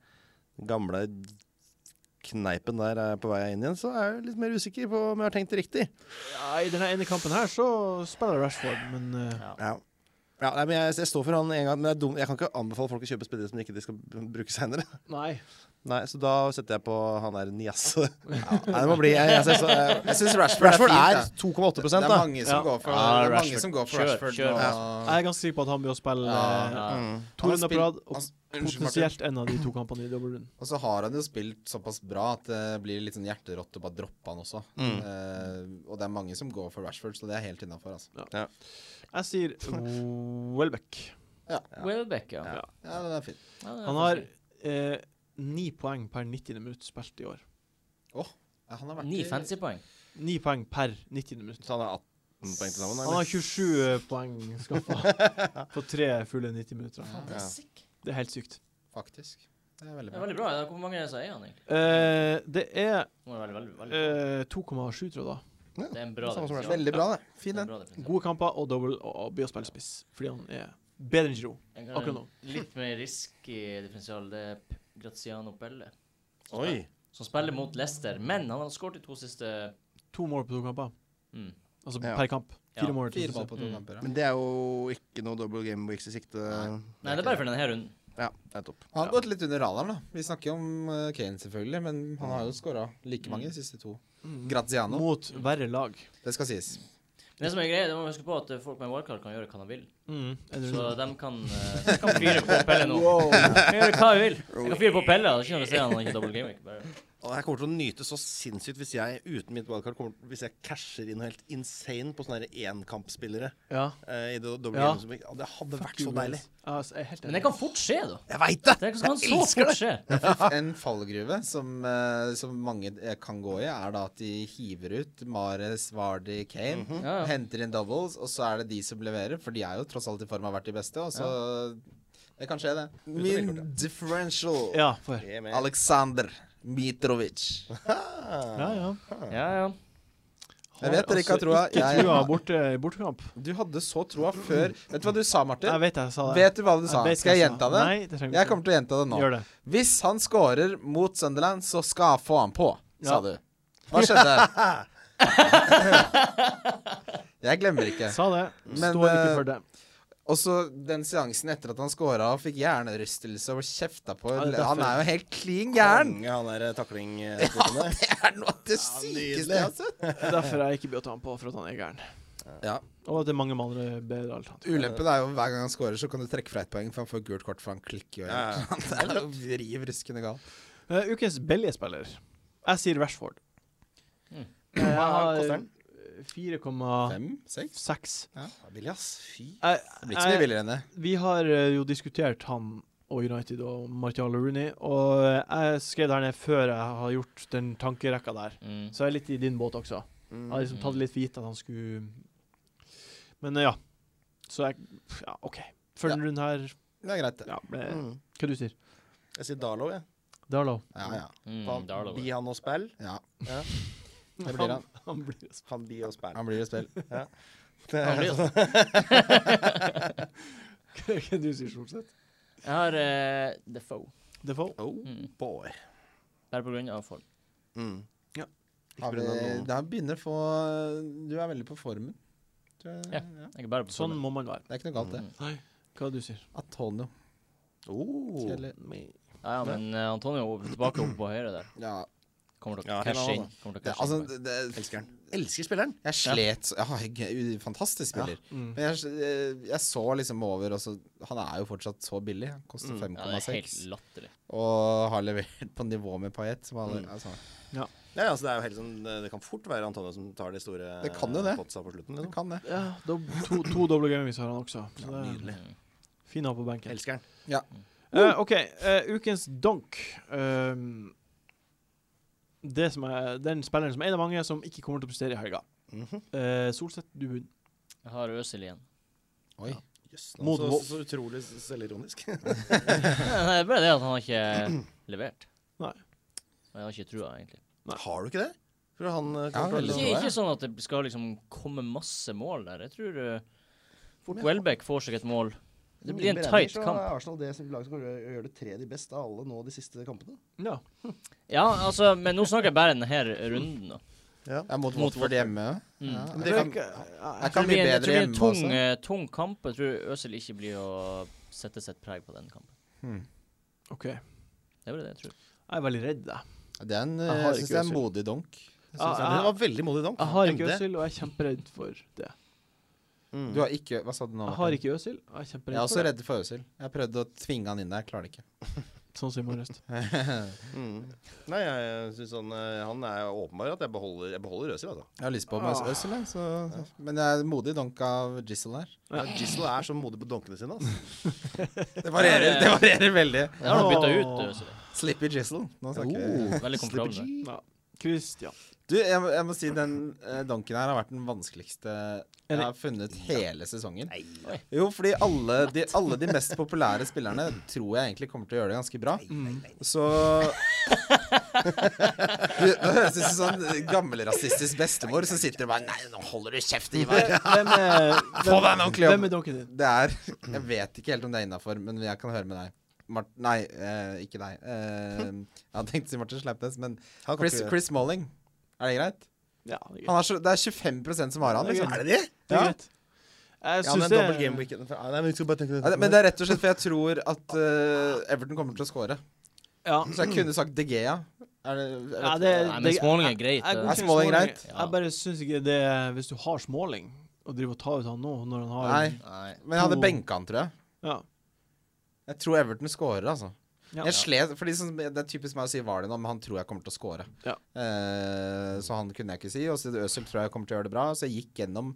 den gamle kneipen der, er på vei inn igjen, så er jeg litt mer usikker på om jeg har tenkt det riktig. Ja, I denne ene kampen her så spiller Rashford, men eh, Ja. Ja. Ja, nei, men jeg, jeg står for han en gang, men det er dumt. jeg kan ikke anbefale folk å kjøpe spillere som ikke de skal b- bruke seinere. Nei. (laughs) Nei, så da setter jeg på han der Nias. Ja, (laughs) nei, det må bli jeg, jeg, synes- jeg, Jeg syns Rashford, Rashford er er fint. da. 2,8 Det er da. mange som Ja. går for, Ja, det er mange Rashford. som går for Kjør, Rashford. kjør. nå. Jeg er ganske sikker på at han blir å spille eh, Ja. to Mm. Han har runder på rad, spilt- og han- Unnskyld, Martin. potensielt en av de to kampene i dobbeltrunden. Og så har han jo spilt såpass bra at det blir litt sånn hjerterått å bare droppe han også. Eh, og det er mange som går for Rashford, så det er helt innafor. Altså. Jeg (laughs) sier Welbeck. Welbeck, ja. Ja, den er fin. Ja, det er Han har faktisk- eh, ni poeng per 90. minutt spilt i år. Ja, han har vært Ni i- fancy poeng. Ni poeng per 90. minutt. Så han har 18 poeng til sammen? Han har 27 poeng skaffa (laughs) på tre fulle 90 minutter. Det er Ja. sick. Det er helt sykt. Faktisk. Det er veldig Det er bra. veldig bra. Ja, Hvor mange er det som eier han, egentlig? Eh, det er Nå er det veldig, veldig, veldig. eh, 2,7, tror jeg da. Det er en bra Samme som defensiv. Veldig bra, det. Fin Det er en den. bra defensiv. Gode kamper og double og by å spille spiss, fordi han er bedre enn Giro. En akkurat nå. Litt mer risky differensial, det er P- Graziano Pelle. Oi. som spiller mot Leicester, men han har skåret de to siste To mål på to kamper. Mm. Altså Ja. per kamp. Fire Ja. mål. i to Fire siste. mål på to Mm. kamper. Ja. Men det er jo ikke noe double game weeks i sikte. Nei, det er bare for denne runden. Ja, nettopp. Han har gått litt under radaren, da. Vi snakker jo om eh, Kane, selvfølgelig, men han har jo skåra like mange de siste to. Graziano. Mot verre lag. Det skal sies. Men det som er greia, det må man huske på at eh, folk med wildcard kan gjøre hva de vil. Mm. Så de kan, eh, de kan fyre på Pelle (laughs) nå. Kan Gjøre hva de vil. De kan fyre på Pelle, det er ikke noe å si at han ikke double game. Ikke bare. Og jeg kommer til å nyte så sinnssykt hvis jeg uten mitt wildcard kommer, hvis jeg casher inn noe helt insane på sånne her enkampspillere Ja. eh, i do- double Ja. game. som- Ja, det hadde vært så deilig. Ja, altså, jeg er helt Men det enig. kan fort skje, da. Jeg veit det! Det kan så fort skje. En fallgruve som, eh, som mange eh, kan gå i, er da at de hiver ut Mares, Vardy, Kane. Ja, ja. Henter inn doubles, og så er det de som leverer. For de er jo tross alt i form av vært de beste, og så Det kan skje, det. Min differential. Ja, for. Det er med. Aleksandr Mitrovic. Ja, ja. Ja, ja. Jeg vet dere ikke har troa. Ikke Jeg- trua borte i bortekamp. Du hadde så troa før Vet du hva du sa, Martin? Jeg vet jeg sa det. Vet du hva du sa? vet Skal jeg sa. gjenta det? Nei, det trenger Jeg kommer til å gjenta det nå. Gjør det. Hvis han scorer mot Sunderland, så skal han få han på, Ja. sa du. (laughs) Hva skjedde? jeg glemmer ikke. Sa det. Men, Står ikke eh, for det. Og så den seansen etter at han scora, fikk hjernerystelse og kjefta på Ja, det er Han derfor. er jo helt klin gæren! Konge, han der takling eh, sporten der. Det er noe av det sykeste jeg har sett. Det er Derfor jeg ikke bød ta han på, for at han er gæren. Ja. Og at det er mange med andre bedre alternativer. Ulempen er jo hver gang han scorer, så kan du trekke fra ett poeng, for han får gult kort, for han klikker jo Ja, (laughs) ja. helt. Han er jo riv ruskende gal. Eh, ukens billige spiller. Jeg sier Rashford. Mm. Eh, Jeg har koster den? 4,6. Fem? Seks? Ja, det er Billig, ass. Fy. Jeg- Det blir ikke så jeg- mye billigere enn det. Vi har eh, jo diskutert han og United og Martial og Rooney, og eh, jeg skrev det her ned før jeg har gjort den tankerekka der. Mm. Så jeg er litt i din båt også. Mm. Jeg har liksom tatt det litt for gitt at han skulle Men eh, ja. Så jeg Ja, OK. Før denne runden her Det er greit, det. ja, ble, Mm. Hva du sier Jeg sier Darlow, jeg. Darlow. Ja, ja. Mm, Han Darlow. bi han og spill. ja. Ja. Det blir han. (laughs) Han blir Han bi og spill. Han blir et (laughs) spill. Han blir det. Hva du sier, Solseth? Jeg har eh, Defoe. Defoe? Oh Mm. boy. Bare på grunn av form. Mm. Ja. Ikke Har vi, pga. noen det her begynner å få Du er veldig på formen. Du er, Ja. Ikke bare på Sånn formen. må man være. Det er ikke noe galt, det. Hva du sier Antonio. oh. Kjedelig. Ja, ja, men eh, Antonio er tilbake oppe på høyre der. Ja, Kommer til å Ja, helt cashe inn. annet, Kommer til å det, cashe altså, inn. det, det, Elsker han. Elsker spilleren. jeg slet så- ja, jeg- Fantastisk spiller. Mm. Men jeg, jeg så liksom over og så, Han er jo fortsatt så billig. Han koster Ja, det er helt 5,6. latterlig. Og har levert på nivå med Payet. Som alle, Mm. altså, Ja, altså, det, er jo helt sånn, det kan fort være Antonio som tar de store Det kan jo det. potsa på slutten. det Liksom. kan det. Ja, dob to, to doble gamevis har han også. Så det er Nydelig. Mm. fin å ha på benken. Elsker han. Eh, OK, eh, ukens donk. Ehm, det som er den spilleren som er en av mange som ikke kommer til å prestere i helga. Mhm. Eh, Solseth, du begynner. Jeg har Øsil igjen. (laughs) Oi. Jøss, Mot så, Wolf. så utrolig s- (laughs) selvironisk. Nei, det er bare det at han har ikke levert. Nei. Og Jeg har ikke trua, egentlig. Har du ikke det? For han eh, kommer Ja, til å- veldig. Ikke, tror jeg. ikke sånn at det skal liksom komme masse mål der. Jeg tror eh, fort Men- Welbeck får seg et mål. Det blir en Mine beregninger tight så kamp. er Arsenal det som laget som kommer til å gjøre det tredje best av alle nå de siste kampene. Ja. Ja, altså, men nå snakker jeg bare denne her runden, da. Jeg er mot Mot Watford hjemme. Mm. Ja, Men jeg, det kan, kan, jeg Jeg tror kan det bli blir en- jeg tror det bedre blir en hjemme altså. tung, også. eh, tung kamp. Jeg tror Øsil ikke blir å sette sitt preg på den kampen. OK. Jeg Det er bare det jeg tror. er veldig redd deg. Det er en, eh, Jeg har ikke jeg syns det er en Øsil. modig donk. synes jeg, det var veldig modig dom. Ah, Jeg har ikke Endelig. Øsil, og jeg er kjemperedd for det. Mm. Du har ikke Hva sa du nå? Jeg har Martin? ikke Øsil, og jeg er kjemperedd Jeg er også for det. redd for Øsil. Jeg prøvde å tvinge han inn der, jeg klarer det ikke. Sånn som i morges. Mm. Nei, jeg, jeg synes han, eh, han er jo åpenbar at jeg beholder, jeg beholder Øzil, altså. Jeg har lyst på meg Ah. Øsil, jeg, så Men jeg er modig donk av Jizzle her. Ja. Gisle er så modig på donkene sine. Altså. Det varierer, det varierer veldig. Jeg har nå Åh. bytta ut Øsil. Slippy Jizzle. Nå snakker vi. Veldig komfortabel. med det. Ja. Christian. Du, jeg, må- jeg må si den eh, donken her har vært den vanskeligste jeg Enig. har funnet hele sesongen. Nei, Jo, fordi alle de, alle de mest populære spillerne tror jeg egentlig kommer til å gjøre det ganske bra. Så du, Det høres ut som sånn gammelrasistisk bestemor som sitter og bare Nei, nå holder du kjeft, Ivar. Hvem er, Få deg en ordentlig jobb. hvem er donken din? (clears throat) Det er Jeg vet ikke helt om det er innafor, men jeg kan høre med deg. Mart Nei, eh, ikke deg. (laughs) Eh, jeg hadde tenkt å si Martin Sleipnes, men Han kan Chris, ikke- Chris Smalling. Er det greit? Ja, det er greit. Han er så, det er 25 som har han. Det er Liksom. Er det det? Det er Ja. greit. Jeg Ja, men synes en dobbel det game weekend fra- Nei, men vi skal bare tenke Nei, det- Men det er rett og slett for jeg tror at eh, Everton kommer til å score. Ja. Så jeg kunne sagt De Gea. Er det, jeg vet Ja, ikke. det, Nei, men Smalling er Jeg, greit. eh. jeg, Er godkjenner Smalling Smalling. greit? Jeg bare syns ikke det Hvis du har Smalling, og driver og tar ut han nå når han har Nei. Men jeg hadde to- benka han, tror jeg. Ja. Jeg tror Everton scorer, altså. Ja. Jeg slet, fordi sånn- Det er typisk meg å si Vardy nå, men han tror jeg kommer til å score. Ja. Eh, så han kunne jeg ikke si. Og så Øzil tror jeg kommer til å gjøre det bra. Så jeg gikk gjennom,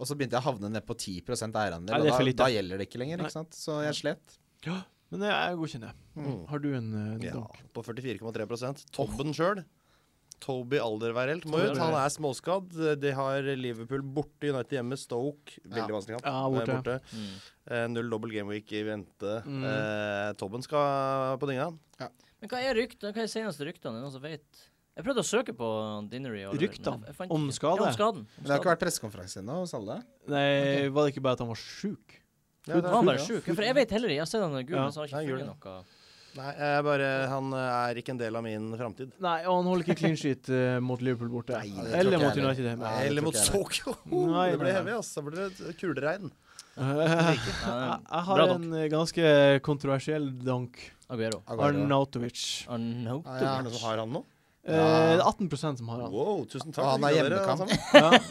og så begynte jeg å havne ned på 10 eierandel. Nei, det Og er for da, lite. da gjelder det ikke lenger, Nei. ikke sant. Så jeg slet. Men jeg, jeg godkjenner. Har du en uh, Mm. Ja, donk? på 44,3 Tobben sjøl. Toby Alderweireld må ut. Han Alderweireld. er småskadd. De har Liverpool borte, United hjemme, Stoke Veldig vanskelig kamp. Ja, Mm. borte. Eh, Mm. Eh, Null dobbel gameweek i vente. Eh, Tobben skal på dynga. Men hva er ryktene? Hva er seneste ryktene? Er det noen som vet? Jeg prøvde å søke på Dinnery. og- Ryktene? men jeg fant Om ikke. skade? Ja, om skaden. Om Men det har ikke skaden. vært pressekonferanse ennå hos alle. Nei, var det ikke bare at han var sjuk? Ja, det Han var er- bare sjuk. For jeg vet heller ikke. Jeg har sett han er gul, Ja. men så har jeg Nei, ikke gul, funnet noe. Nei, jeg bare, han eh, er ikke en del av min framtid. Nei, og han holder ikke clean sheet eh, mot Liverpool borte. Nei, det tror ikke Eller jeg mot heller. United (laughs) hjemme. Nei, det Eller tror mot ikke jeg Stoke. Nei, (laughs) Det nei, ble nei. heavy, ass. Da ble det kuleregn. Eh, Nei, jeg, jeg har Bra dunk. en eh, ganske kontroversiell donk. Aguero. Ah, Aguero. Arnautovic. Arnaut. (laughs) Ja, Er det ja. noen som har han nå? Eh, det er 18 som har han. Wow, tusen takk. Og han har Gratulerer, alle (laughs) hjemmekamp. sammen.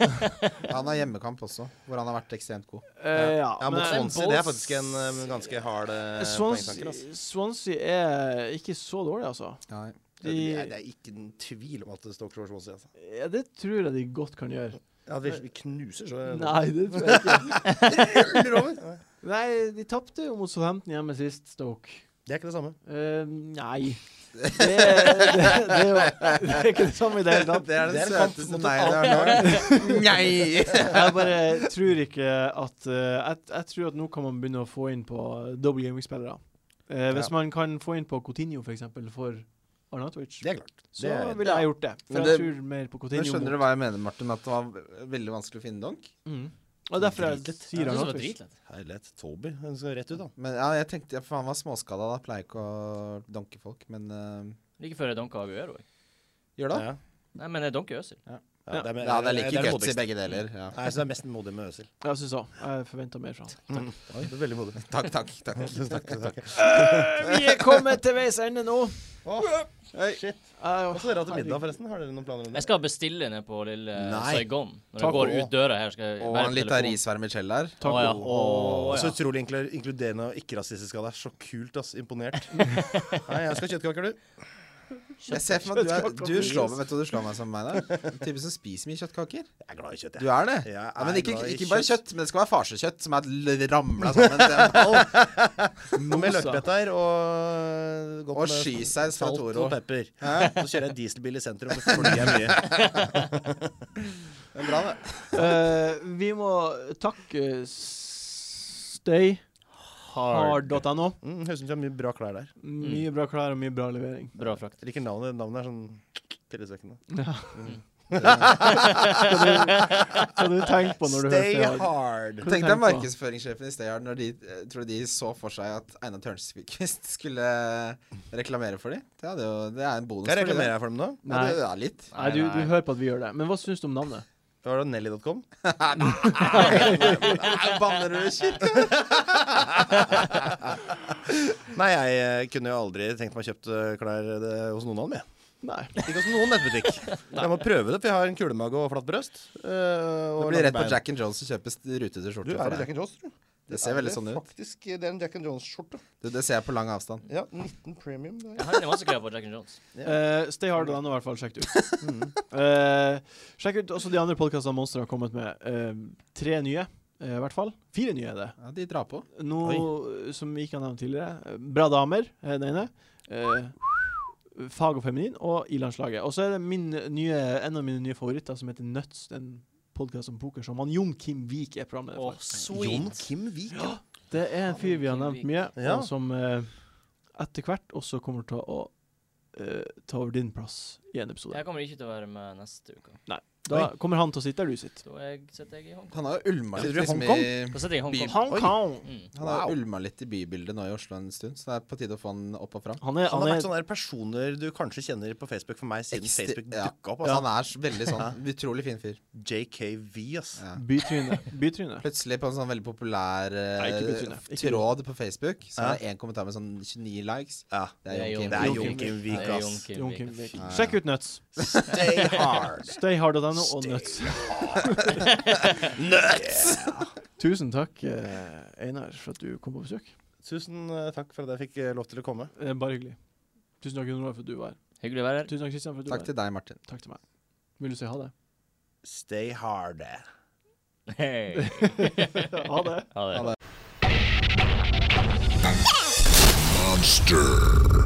Han har hjemmekamp også, hvor han har vært ekstremt god. Eh, ja, Ja, mot men- Swansea. Det er faktisk en eh, ganske hard eh, poengtanker. Swansea, ass. Swansea er ikke så dårlig, altså. Nei. De, Det er- det er ikke en tvil om at det står Cross Swansea. Altså. ja, det tror jeg de godt kan gjøre. Ja, vi, vi knuser så Nei, det tror jeg ikke. ruller (laughs) over. Nei, de tapte jo mot Southampton hjemme sist, Stoke. Det er ikke det samme. Eh, nei. Det, det, det, er jo, det er ikke det samme i det hele tatt. Det er Det den er en kamp søteste mot et nei jeg har hørt. Nei! Jeg bare tror ikke at eh, jeg, jeg tror at nå kan man begynne å få inn på double gaming-spillere. Eh, hvis Ja. man kan få inn på Coutinho for eksempel, for Arnautovic, Det er klart. så er- ville jeg gjort det. Men For jeg det- tror mer på Men Coutinho. skjønner du mot- hva jeg mener, Martin? At det var veldig vanskelig å finne donk? Mm. Og derfor jeg sier Jeg synes det var Arnautovic. dritlett. Herlighet. Toby. Han skal rett ut, han. Men ja, jeg tenkte, ja, for han var småskada, da pleier jeg ikke å donke folk, men eh, Like før jeg dunka Aguero. jeg. gjør det. Ja. Nei, men jeg dunker Øzil. Ja, det er, Ja, det er like det guts i modigste. begge deler. Ja. Nei, så det er mest modig med Øsil. Jeg syns òg. Jeg forventa mer fra han. Oi, det er veldig modig. Takk, takk. takk. (laughs) Vi er kommet til veis ende nå. Shit. Jeg- Hva skal dere ha til middag, forresten? Har dere noen planer om Jeg det? skal bestille ned på lille eh, Nei. Saigon. Når Taco. jeg går ut døra her, skal jeg (laughs) Og være på en litt av telefon. risvermicelli der. Taco. Å, ja. Og Å, så ja. utrolig inkl inkluderende og ikke-rasistisk av deg. Så kult, ass. Imponert. (laughs) Nei, jeg skal ha kjøttkaker, du. Jeg ser for meg at du, er, du slår meg Vet du hva du slår meg som meg der? En type som spiser mye kjøttkaker. Jeg er glad i kjøtt, Du jeg. er det. Jeg Ja, er men ikke, glad i ikke bare kjøtt. kjøtt, men det skal være farsekjøtt som er l- ramla sammen (laughs) til en ball. Noe med løkbretter og godt Og med skisaus fra salt Toro. og pepper. Så kjører jeg dieselbil i sentrum, så følger jeg mye. Det er bra, det. Eh, vi må takke støyhard.no. (laughs) Mm, Høres ut som de har mye bra klær der. Mye bra klær og mye bra (laughs) levering. Bra frakt. Jeg liker navnet. Navnet er sånn tillitvekkende. Hva du tenker på når du Stay hører støyhard? hard. Tenk tenker deg på? markedsføringssjefen i Stayard når de eh, tror de så for seg at Einar Tørnquist (laughs) skulle eh, reklamere for dem. Det, hadde jo- det er en bonus Kan jeg for dem. reklamere her for dem nå? Ja, Nei. det er litt. Nei, du, du hører på at vi gjør det. Men hva syns du om navnet? Var det (laughs) Nelly.com? Banner du kirke? (laughs) Nei, jeg eh, kunne jo aldri tenkt meg å kjøpt eh, klær eh, hos noen av dem, jeg. Nei. Ikke hos (laughs) noen nettbutikk. Jeg må prøve det, for jeg har en kulemage og flatt brøst. eh, Du og blir lange redd på bein. Jack and Jones og kjøper st- rutete Du skjorter er for i Jack deg. and Jones, tror du. Det ser veldig sånn ut. Faktisk, eh, det er en Jack and Jones-skjorte. Du, det ser jeg på lang avstand. Ja, 19 premium. Det er. Jeg har en masse greier på Jack and Jones. Eh, stay hard og i hvert fall, sjekk det ut. (laughs) Eh, sjekk ut også de andre podkastene Monster har kommet med. Eh, tre nye, eh, i hvert fall. Fire nye er det. Ja, de drar på. Noe som vi ikke har nevnt tidligere. eh, Bra damer er den ene. Eh, fag og feminin og I-landslaget. Og så er det min nye, en av mine nye favoritter som heter Nuts. Den podkast om poker som han Jon Kim Vik er programleder Å, for. Jon sweet. Kim Vik, ja. Det er en fyr vi har Jon nevnt Kim mye, Ja. og som eh, etter hvert også kommer til å eh, ta over din plass i en episode. Jeg kommer ikke til å være med neste uke. Da kommer han til å sitte der du sitter. Da er jeg, sitter jeg i Hongkong. Han har jo ulma litt, Sitter du i liksom, Hongkong? i, Da sitter jeg i Hongkong. Hongkong! Mm. han har jo ulma litt i bybildet nå i Oslo en stund, så det er på tide å få han opp og fram. Han sånn er, Han han har er vært sånne der personer du kanskje kjenner på Facebook for meg siden Ekstra- Facebook ja. dukka opp. Ja, Altså. Han er s- veldig sånn (laughs) utrolig fin fyr. JKV, ass. Ja. bytryne. (laughs) bytryne. Plutselig på en sånn veldig populær eh, Nei, ikke betryne. Ikke tråd på Facebook, så er det én kommentar med sånn 29 likes. Ja. Det er jo Jon Kim. Det er Jon Joakim Det Vik, er ass. Jon Jon Kim Kim Vik. Vik. Ja, ja. Sjekk ut Nuts. (laughs) Stay hard. Stayhard.no og Nuts. Nuts! Tusen takk, eh, Einar, for at du kom på besøk. Tusen eh, takk for at jeg fikk eh, lov til å komme. Eh, Bare hyggelig. Tusen takk, Gunnar, for at du var her. Hyggelig å være her. Tusen takk, Kristian, for at du Takk var her. til deg, Martin. Takk til meg. Vil du si ha det? Stay hard. Hei. Ha det. Ha det. Ha det.